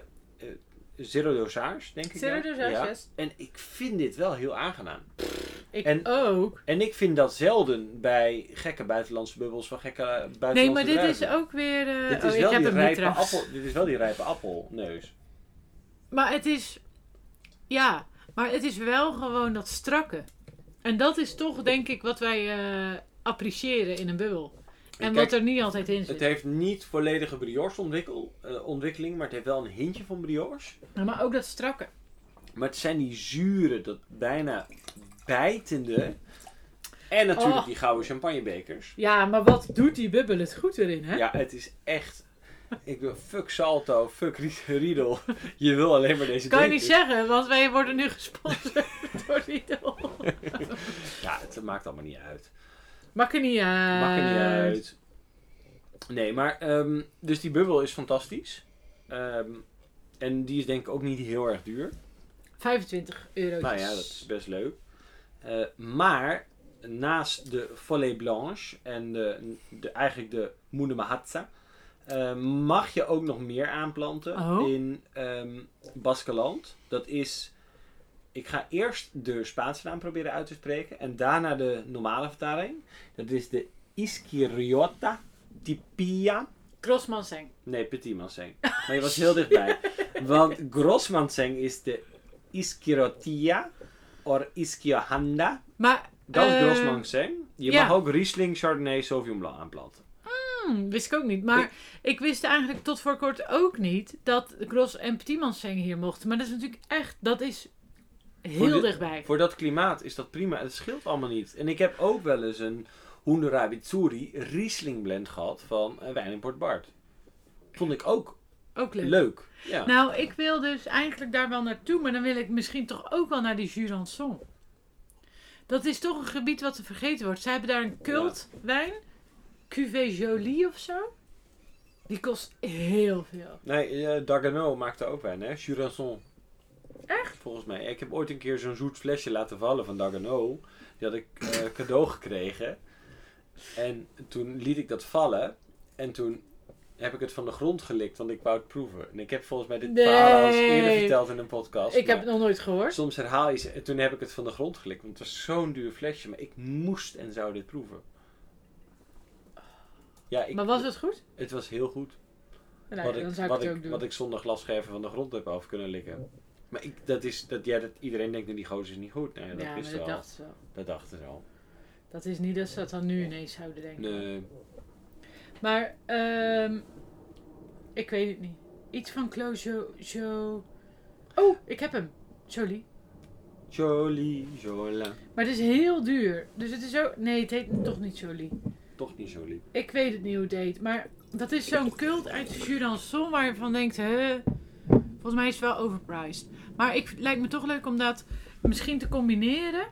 [SPEAKER 1] zero dosage, denk ik.
[SPEAKER 2] Zero
[SPEAKER 1] dan.
[SPEAKER 2] dosage,
[SPEAKER 1] Ja.
[SPEAKER 2] yes.
[SPEAKER 1] En ik vind dit wel heel aangenaam.
[SPEAKER 2] Ik
[SPEAKER 1] en-
[SPEAKER 2] ook.
[SPEAKER 1] En ik vind dat zelden bij gekke buitenlandse bubbels van gekke buitenlandse
[SPEAKER 2] Nee, maar dit is
[SPEAKER 1] druiven.
[SPEAKER 2] ook weer... eh,
[SPEAKER 1] Dit is,
[SPEAKER 2] oh,
[SPEAKER 1] wel
[SPEAKER 2] ik heb
[SPEAKER 1] die
[SPEAKER 2] hem niet
[SPEAKER 1] rijpe
[SPEAKER 2] trouwens.
[SPEAKER 1] appel, dit is wel die rijpe appelneus.
[SPEAKER 2] Maar het is. Ja, maar het is wel gewoon dat strakke. En dat is toch, denk ik, wat wij eh, appreciëren in een bubbel.
[SPEAKER 1] Kijk,
[SPEAKER 2] En wat er niet altijd in
[SPEAKER 1] Het
[SPEAKER 2] zit.
[SPEAKER 1] heeft niet volledige brioche ontwikkel, eh, ontwikkeling, maar het heeft wel een hintje van brioche.
[SPEAKER 2] Maar ook dat strakke.
[SPEAKER 1] Maar het zijn die zure, dat bijna bijtende. En natuurlijk
[SPEAKER 2] Oh.
[SPEAKER 1] die gouden champagnebekers.
[SPEAKER 2] Ja, maar wat doet die bubbel het goed erin, hè?
[SPEAKER 1] Ja, het is echt. Ik wil fuck Salto, fuck Rie- Riedel. Je wil alleen maar deze
[SPEAKER 2] kan je niet
[SPEAKER 1] drinkers.
[SPEAKER 2] zeggen, want wij worden nu gesponsord <laughs> door Lidl.
[SPEAKER 1] Ja, het maakt allemaal niet uit.
[SPEAKER 2] Maakt er niet uit.
[SPEAKER 1] Maakt er niet uit. Nee, maar ehm, dus die bubbel is fantastisch. Ehm, en die is denk ik ook niet heel erg duur.
[SPEAKER 2] 25 euro.
[SPEAKER 1] Nou ja, dat is best leuk. Eh, maar naast de Follet Blanche en de, de, eigenlijk de Moene Mahatsa, eh, mag je ook nog meer aanplanten
[SPEAKER 2] Oh.
[SPEAKER 1] in ehm Baskeland. Dat is. Ik ga eerst de Spaanse naam proberen uit te spreken en daarna de normale vertaling. Dat is de Isquiriota Tipia.
[SPEAKER 2] Crossmanseng.
[SPEAKER 1] Nee, Petit
[SPEAKER 2] <laughs>
[SPEAKER 1] Manseng. Maar je was heel dichtbij. Want Gros Manseng is de Iskirotia or Iskiohanda.
[SPEAKER 2] Maar.
[SPEAKER 1] Dat is
[SPEAKER 2] eh,
[SPEAKER 1] Gros Manseng. Je
[SPEAKER 2] ja.
[SPEAKER 1] mag ook Riesling, Chardonnay, Sauvignon Blanc aanplanten.
[SPEAKER 2] Hmm, wist ik ook niet. Maar ik wist eigenlijk tot voor kort ook niet dat Gros en Petitmans zingen hier mochten. Maar dat is natuurlijk echt, dat is
[SPEAKER 1] Voor
[SPEAKER 2] heel
[SPEAKER 1] de-
[SPEAKER 2] dichtbij.
[SPEAKER 1] Voor dat klimaat is dat prima. Het scheelt allemaal niet. En ik heb ook wel eens een Hunderabitsuri Riesling blend gehad van eh, Wijn in Port Bart. Vond ik ook
[SPEAKER 2] Ook leuk.
[SPEAKER 1] leuk. Ja.
[SPEAKER 2] Nou, ik wil dus eigenlijk daar wel naartoe, maar dan wil ik misschien toch ook wel naar die Jurançon. Dat is toch een gebied wat te vergeten wordt. Ze hebben daar een cultwijn, Cuvée Jolie of zo. Die kost heel veel.
[SPEAKER 1] Nee, eh Dagano maakte ook wijn, hè? Jurançon. Echt? Volgens mij. Ik heb ooit een keer zo'n zoet flesje laten vallen van Dagano. Die had ik eh, cadeau gekregen. En toen liet ik dat vallen. En toen heb ik het van de grond gelikt, want ik wou het proeven. En ik heb volgens mij dit verhaal al eens eerder
[SPEAKER 2] Nee.
[SPEAKER 1] verteld in een podcast.
[SPEAKER 2] Ik heb
[SPEAKER 1] maar-
[SPEAKER 2] het nog nooit gehoord.
[SPEAKER 1] Soms herhaal je ze. En toen heb ik het van de grond gelikt. Want het was zo'n duur flesje. Maar ik moest en zou dit proeven. Ja, ik,
[SPEAKER 2] Maar was het goed?
[SPEAKER 1] het was heel goed.
[SPEAKER 2] Nou,
[SPEAKER 1] wat,
[SPEAKER 2] ja, dan
[SPEAKER 1] ik,
[SPEAKER 2] zou ik
[SPEAKER 1] wat,
[SPEAKER 2] het
[SPEAKER 1] ik,
[SPEAKER 2] ook doen.
[SPEAKER 1] wat ik zonder glasscherven van de grond heb af kunnen likken. Maar ik, dat is, dat, ja, dat, iedereen denkt, nou, die gozer is niet goed. Nee, dat
[SPEAKER 2] ja,
[SPEAKER 1] is wel.
[SPEAKER 2] maar dat dacht ze wel.
[SPEAKER 1] Dat dachten ze al.
[SPEAKER 2] Dat is niet dat ze dat dan nu ineens zouden denken.
[SPEAKER 1] Nee.
[SPEAKER 2] Maar, ehm ik weet het niet. Iets van Clojo. Jo... Oh, ik heb hem. Jolie.
[SPEAKER 1] Jolie, Jola.
[SPEAKER 2] Maar het is heel duur. Dus het is ook. Nee, het heet toch niet Jolie.
[SPEAKER 1] Toch niet Jolie.
[SPEAKER 2] Ik weet het niet hoe het heet. Maar dat is zo'n cult uit de Jurançon waar je van denkt. hè, volgens mij is het wel overpriced. Maar ik, het lijkt me toch leuk om dat misschien te combineren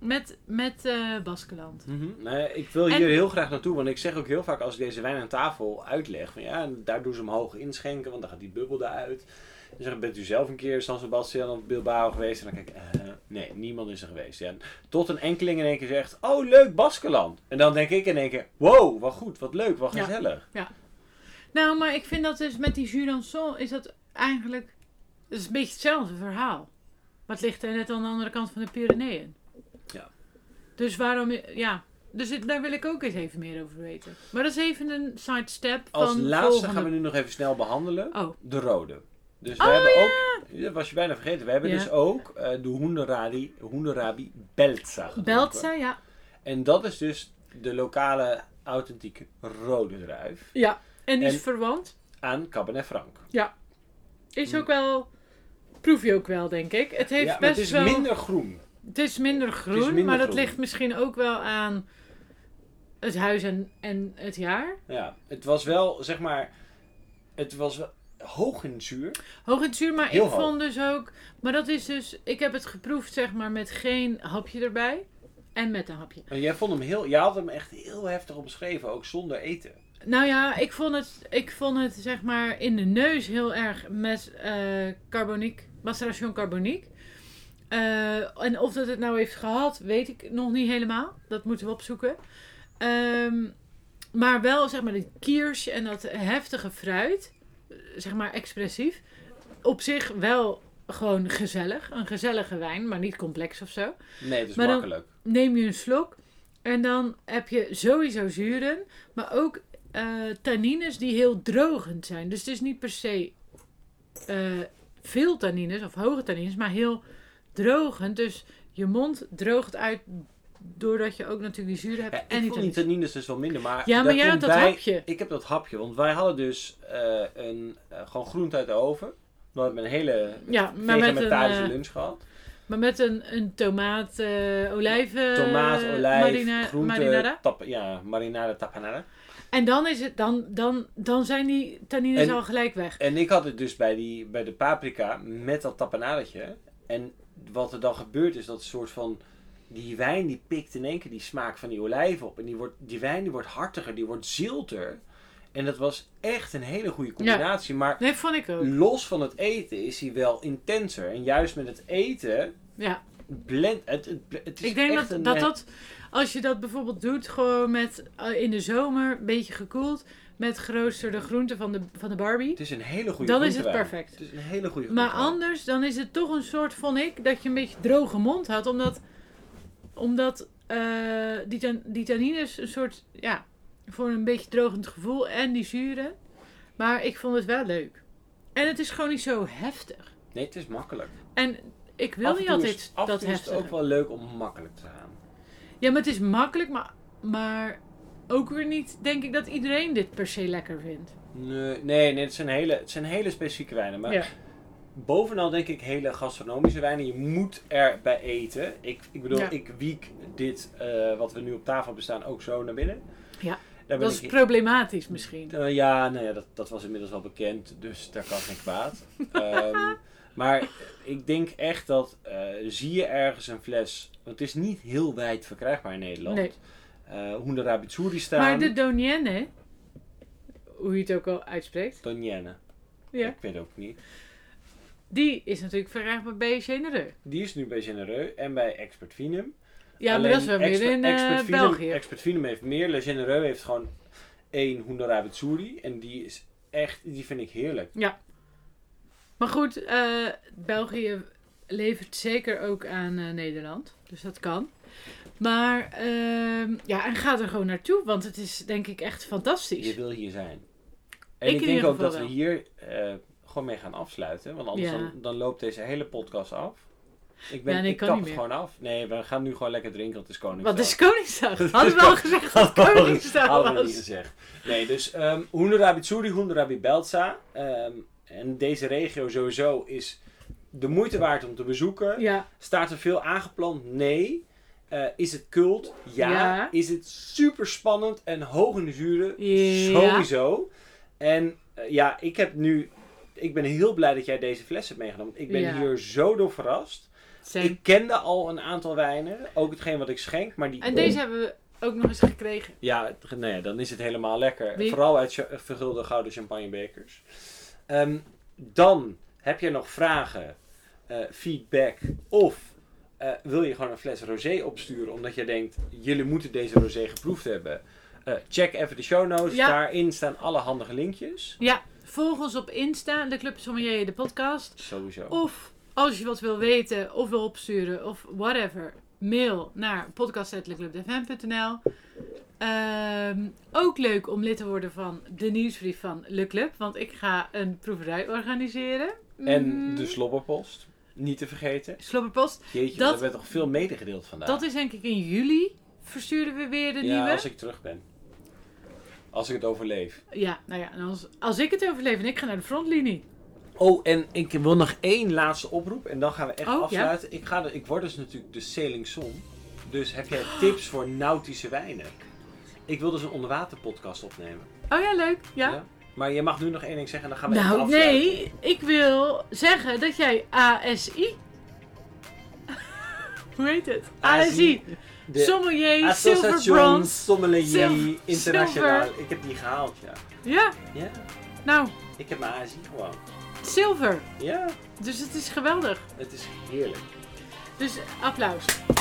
[SPEAKER 2] met, met eh Baskeland.
[SPEAKER 1] Nee, ik wil
[SPEAKER 2] En-
[SPEAKER 1] hier heel graag naartoe, want ik zeg ook heel vaak als ik deze wijn aan tafel uitleg, van ja, en daar doen ze hem hoog inschenken, want dan gaat die bubbel eruit. Dan zeg ik, bent u zelf een keer San Sebastian of Bilbao geweest? En dan kijk ik, eh, nee, niemand is er geweest. Ja, tot een enkeling in één keer zegt, oh leuk, Baskeland. En dan denk ik in één keer, wow, wat goed, wat leuk, wat
[SPEAKER 2] Ja.
[SPEAKER 1] gezellig.
[SPEAKER 2] Nou, maar ik vind dat dus met die Jurançon is dat eigenlijk. Het is een beetje hetzelfde verhaal. Maar het ligt er net aan de andere kant van de Pyreneeën.
[SPEAKER 1] Ja.
[SPEAKER 2] Dus waarom. Ja. Dus het- daar wil ik ook eens even meer over weten. Maar dat is even een sidestep.
[SPEAKER 1] Als
[SPEAKER 2] van
[SPEAKER 1] laatste
[SPEAKER 2] volgende...
[SPEAKER 1] gaan we nu nog even snel behandelen,
[SPEAKER 2] Oh,
[SPEAKER 1] de rode. Dus we
[SPEAKER 2] Oh,
[SPEAKER 1] hebben ook, dat was je bijna vergeten, we hebben
[SPEAKER 2] Ja.
[SPEAKER 1] dus ook eh, de Hoenderadi, Hoenderrabi Belza gedronken.
[SPEAKER 2] Beltza, ja.
[SPEAKER 1] En dat is dus de lokale authentieke rode druif
[SPEAKER 2] Ja. En die
[SPEAKER 1] En-
[SPEAKER 2] is verwant.
[SPEAKER 1] aan Cabernet Franc.
[SPEAKER 2] Is ook wel. Proef je ook wel, denk ik. Het heeft
[SPEAKER 1] ja, maar
[SPEAKER 2] best
[SPEAKER 1] het is
[SPEAKER 2] wel.
[SPEAKER 1] minder groen.
[SPEAKER 2] Het is minder groen,
[SPEAKER 1] Het is minder
[SPEAKER 2] maar dat
[SPEAKER 1] groen.
[SPEAKER 2] ligt misschien ook wel aan het huis en, en het jaar.
[SPEAKER 1] Ja, het was wel, zeg maar, het was wel hoog in zuur.
[SPEAKER 2] Hoog in zuur, maar
[SPEAKER 1] Heel
[SPEAKER 2] ik
[SPEAKER 1] hoog.
[SPEAKER 2] vond dus ook. Maar dat is dus. Ik heb het geproefd, zeg maar, met geen hapje erbij. En met een hapje.
[SPEAKER 1] En jij vond hem heel, jij had hem echt heel heftig omschreven, ook zonder eten.
[SPEAKER 2] Nou ja, ik vond het, ik vond het zeg maar in de neus heel erg met eh carboniek, maceration carboniek. Eh, en of dat het nou heeft gehad, weet ik nog niet helemaal. Dat moeten we opzoeken. Ehm, maar wel zeg maar die kiers en dat heftige fruit, eh, zeg maar expressief. Op zich wel gewoon gezellig. Een gezellige wijn, maar niet complex of zo
[SPEAKER 1] Nee, het is
[SPEAKER 2] Maar dan-
[SPEAKER 1] makkelijk.
[SPEAKER 2] neem je een slok en dan heb je sowieso zuren, maar ook eh, tannines die heel drogend zijn. Dus het is niet per se eh, veel tannines of hoge tannines, maar heel drogend. Dus je mond droogt uit doordat je ook natuurlijk die zuren hebt
[SPEAKER 1] Ja,
[SPEAKER 2] en
[SPEAKER 1] ik vond
[SPEAKER 2] die
[SPEAKER 1] die
[SPEAKER 2] tannines.
[SPEAKER 1] tannines dus wel minder, maar...
[SPEAKER 2] Ja, maar jij had
[SPEAKER 1] komt
[SPEAKER 2] dat
[SPEAKER 1] bij-
[SPEAKER 2] hapje.
[SPEAKER 1] Ik heb dat hapje, want wij hadden dus eh, een, eh, gewoon groente uit de oven. We hadden een hele
[SPEAKER 2] Ja, maar met een,
[SPEAKER 1] vegetarische
[SPEAKER 2] eh,
[SPEAKER 1] lunch gehad.
[SPEAKER 2] maar met een, een tomaat, eh olijven,
[SPEAKER 1] Tomaat,
[SPEAKER 2] eh,
[SPEAKER 1] olijf,
[SPEAKER 2] marina-
[SPEAKER 1] groente,
[SPEAKER 2] marinara.
[SPEAKER 1] tap- ja, marinade tapanada.
[SPEAKER 2] En dan, is het, dan, dan, dan zijn die tannines
[SPEAKER 1] En-
[SPEAKER 2] al gelijk weg.
[SPEAKER 1] En ik had het dus bij, die, bij de paprika met dat tapanadetje. En wat er dan gebeurt is dat een soort van... Die wijn die pikt in één keer die smaak van die olijf op. En die, wordt, die wijn die wordt hartiger, die wordt zilter. En dat was echt een hele goede combinatie. Maar
[SPEAKER 2] Nee, vond ik ook.
[SPEAKER 1] los van het eten is hij wel intenser. En juist met het eten...
[SPEAKER 2] Ja.
[SPEAKER 1] Blend, het, het, het is
[SPEAKER 2] Ik denk
[SPEAKER 1] echt
[SPEAKER 2] dat,
[SPEAKER 1] een,
[SPEAKER 2] dat
[SPEAKER 1] eh,
[SPEAKER 2] dat, als je dat bijvoorbeeld doet, gewoon met eh, in de zomer, een beetje gekoeld, met geroosterde groenten van de, van de Barbie,
[SPEAKER 1] Het is een hele goede
[SPEAKER 2] dan is het
[SPEAKER 1] groentewijn.
[SPEAKER 2] perfect.
[SPEAKER 1] Het is een hele goede
[SPEAKER 2] Maar
[SPEAKER 1] groentewijn.
[SPEAKER 2] anders, dan is het toch een soort, vond ik, dat je een beetje droge mond had, omdat, omdat eh, die, tan- die tannines een soort, ja, voor een beetje drogend gevoel en die zuren. Maar ik vond het wel leuk. En het is gewoon niet zo heftig.
[SPEAKER 1] Nee, het is makkelijk.
[SPEAKER 2] En ik wil
[SPEAKER 1] Af en
[SPEAKER 2] niet
[SPEAKER 1] toe
[SPEAKER 2] altijd
[SPEAKER 1] is- af en
[SPEAKER 2] dat
[SPEAKER 1] toe is
[SPEAKER 2] heftig.
[SPEAKER 1] het ook wel leuk om makkelijk te gaan.
[SPEAKER 2] Ja, maar het is makkelijk, maar, maar ook weer niet, denk ik, dat iedereen dit per se lekker vindt.
[SPEAKER 1] Nee, nee, nee, het, zijn hele, het zijn hele specifieke wijnen. Maar
[SPEAKER 2] Ja.
[SPEAKER 1] bovenal denk ik hele gastronomische wijnen. Je moet erbij eten. Ik, ik bedoel,
[SPEAKER 2] Ja.
[SPEAKER 1] ik wiek dit eh, wat we nu op tafel bestaan ook zo naar binnen.
[SPEAKER 2] Ja.
[SPEAKER 1] Daar ben
[SPEAKER 2] Dat is
[SPEAKER 1] ik-
[SPEAKER 2] problematisch misschien.
[SPEAKER 1] Eh, ja, nou ja, dat, dat was inmiddels wel bekend, dus daar kan geen
[SPEAKER 2] <laughs>
[SPEAKER 1] kwaad. Ehm, maar ik denk echt dat eh, zie je ergens een fles, want het is niet heel wijd verkrijgbaar in Nederland.
[SPEAKER 2] Nee.
[SPEAKER 1] Eh, Hoender Rabitsuri staan,
[SPEAKER 2] Maar de Donienne, hoe je het ook al uitspreekt,
[SPEAKER 1] Donienne.
[SPEAKER 2] ja,
[SPEAKER 1] Ik weet ook niet.
[SPEAKER 2] die is natuurlijk verkrijgbaar bij Genereux.
[SPEAKER 1] Die is nu bij Genereux en bij Expert Vinum.
[SPEAKER 2] Ja, maar
[SPEAKER 1] Alleen
[SPEAKER 2] dat is wel
[SPEAKER 1] Expert-
[SPEAKER 2] weer in eh,
[SPEAKER 1] Expert Vinum-
[SPEAKER 2] België.
[SPEAKER 1] Expert Vinum heeft meer, Le Genereux heeft gewoon één Hoender Rabitsuri en die is echt, die vind ik heerlijk.
[SPEAKER 2] Maar goed, eh, België levert zeker ook aan eh, Nederland. Dus dat kan. Maar ehm, ja, en ga er gewoon naartoe, want het is denk ik echt
[SPEAKER 1] Je
[SPEAKER 2] fantastisch.
[SPEAKER 1] wil hier zijn. En
[SPEAKER 2] Ik
[SPEAKER 1] ik,
[SPEAKER 2] in
[SPEAKER 1] denk
[SPEAKER 2] ieder
[SPEAKER 1] ook
[SPEAKER 2] geval
[SPEAKER 1] dat we
[SPEAKER 2] wel.
[SPEAKER 1] hier eh, gewoon mee gaan afsluiten. Want anders
[SPEAKER 2] Ja.
[SPEAKER 1] dan, dan loopt deze hele podcast af. Ik, ben,
[SPEAKER 2] Ja, nee,
[SPEAKER 1] ik
[SPEAKER 2] kan
[SPEAKER 1] kap
[SPEAKER 2] niet
[SPEAKER 1] het
[SPEAKER 2] meer.
[SPEAKER 1] gewoon af. Nee, we gaan nu gewoon lekker drinken, want het is Koningsdag.
[SPEAKER 2] Want het is Koningsdag.
[SPEAKER 1] Het
[SPEAKER 2] Hadden we
[SPEAKER 1] is
[SPEAKER 2] al
[SPEAKER 1] Kon- <laughs>
[SPEAKER 2] gezegd dat het Koningsdag
[SPEAKER 1] Hadden we niet
[SPEAKER 2] was.
[SPEAKER 1] gezegd. Nee, dus ehm Hoenderabit Suri, Hoenderabit Beltza. ehm, en deze regio sowieso is de moeite waard om te bezoeken.
[SPEAKER 2] Ja,
[SPEAKER 1] Staat er veel aangeplant? Nee. Eh, is het cult? Ja.
[SPEAKER 2] Ja.
[SPEAKER 1] Is het super spannend en hoog in de zuren?
[SPEAKER 2] Ja.
[SPEAKER 1] Sowieso. En eh, ja, ik heb nu. Ik ben heel blij dat jij deze fles hebt meegenomen. Ik ben
[SPEAKER 2] Ja.
[SPEAKER 1] hier zo door verrast.
[SPEAKER 2] zijn.
[SPEAKER 1] Ik kende al een aantal wijnen, ook hetgeen wat ik schenk, maar die.
[SPEAKER 2] En deze hebben we ook nog eens gekregen.
[SPEAKER 1] Ja, t- nou ja, dan is het helemaal lekker.
[SPEAKER 2] Wie-
[SPEAKER 1] Vooral uit cha- vergulde gouden champagnebekers. Ehm, dan heb je nog vragen, eh, feedback of eh, wil je gewoon een fles rosé opsturen omdat je denkt, jullie moeten deze rosé geproefd hebben. Eh, check even de show notes.
[SPEAKER 2] Ja.
[SPEAKER 1] Daarin staan alle handige linkjes.
[SPEAKER 2] Ja, volg ons op Insta, de Club Sommelier, de podcast.
[SPEAKER 1] Sowieso.
[SPEAKER 2] Of als je wat wil weten of wil opsturen of whatever, mail naar podcast.leclubdfm.nl. Ehm, ook leuk om lid te worden van de nieuwsbrief van Le Club, want ik ga een proeverij organiseren.
[SPEAKER 1] En dus-
[SPEAKER 2] Mm,
[SPEAKER 1] de slobberpost. Niet te vergeten.
[SPEAKER 2] slobberpost.
[SPEAKER 1] Jeetje,
[SPEAKER 2] Dat-
[SPEAKER 1] dat... er werd toch veel medegedeeld vandaag.
[SPEAKER 2] Dat is denk ik in juli. Versturen we weer de
[SPEAKER 1] ja,
[SPEAKER 2] nieuwe?
[SPEAKER 1] als ik terug ben. Als ik het overleef.
[SPEAKER 2] Ja, nou ja, en als, als ik het overleef en ik ga naar de frontlinie.
[SPEAKER 1] Oh, en ik wil nog één laatste oproep en dan gaan we echt
[SPEAKER 2] Oh, ja.
[SPEAKER 1] afsluiten. Ik, ga de, ik word dus natuurlijk de Sailing Son. Dus heb
[SPEAKER 2] <gasps>
[SPEAKER 1] jij tips voor nautische wijnen? Ik wil dus een onderwaterpodcast opnemen.
[SPEAKER 2] Oh ja, leuk. Ja.
[SPEAKER 1] Maar je mag nu nog één ding zeggen en dan gaan we
[SPEAKER 2] Nou,
[SPEAKER 1] echt afsluiten.
[SPEAKER 2] nee, ik wil zeggen dat jij ASI. <laughs> Hoe heet het? ASI.
[SPEAKER 1] De
[SPEAKER 2] Sommelier, Silver
[SPEAKER 1] Association
[SPEAKER 2] Bronze.
[SPEAKER 1] Sommelier
[SPEAKER 2] Silver-
[SPEAKER 1] Internationaal.
[SPEAKER 2] Silver.
[SPEAKER 1] Ik heb die gehaald, ja.
[SPEAKER 2] Ja,
[SPEAKER 1] Ja,
[SPEAKER 2] nou,
[SPEAKER 1] ik heb mijn ASI gewoon.
[SPEAKER 2] zilver.
[SPEAKER 1] Ja,
[SPEAKER 2] Dus het is geweldig.
[SPEAKER 1] het is heerlijk.
[SPEAKER 2] Dus applaus.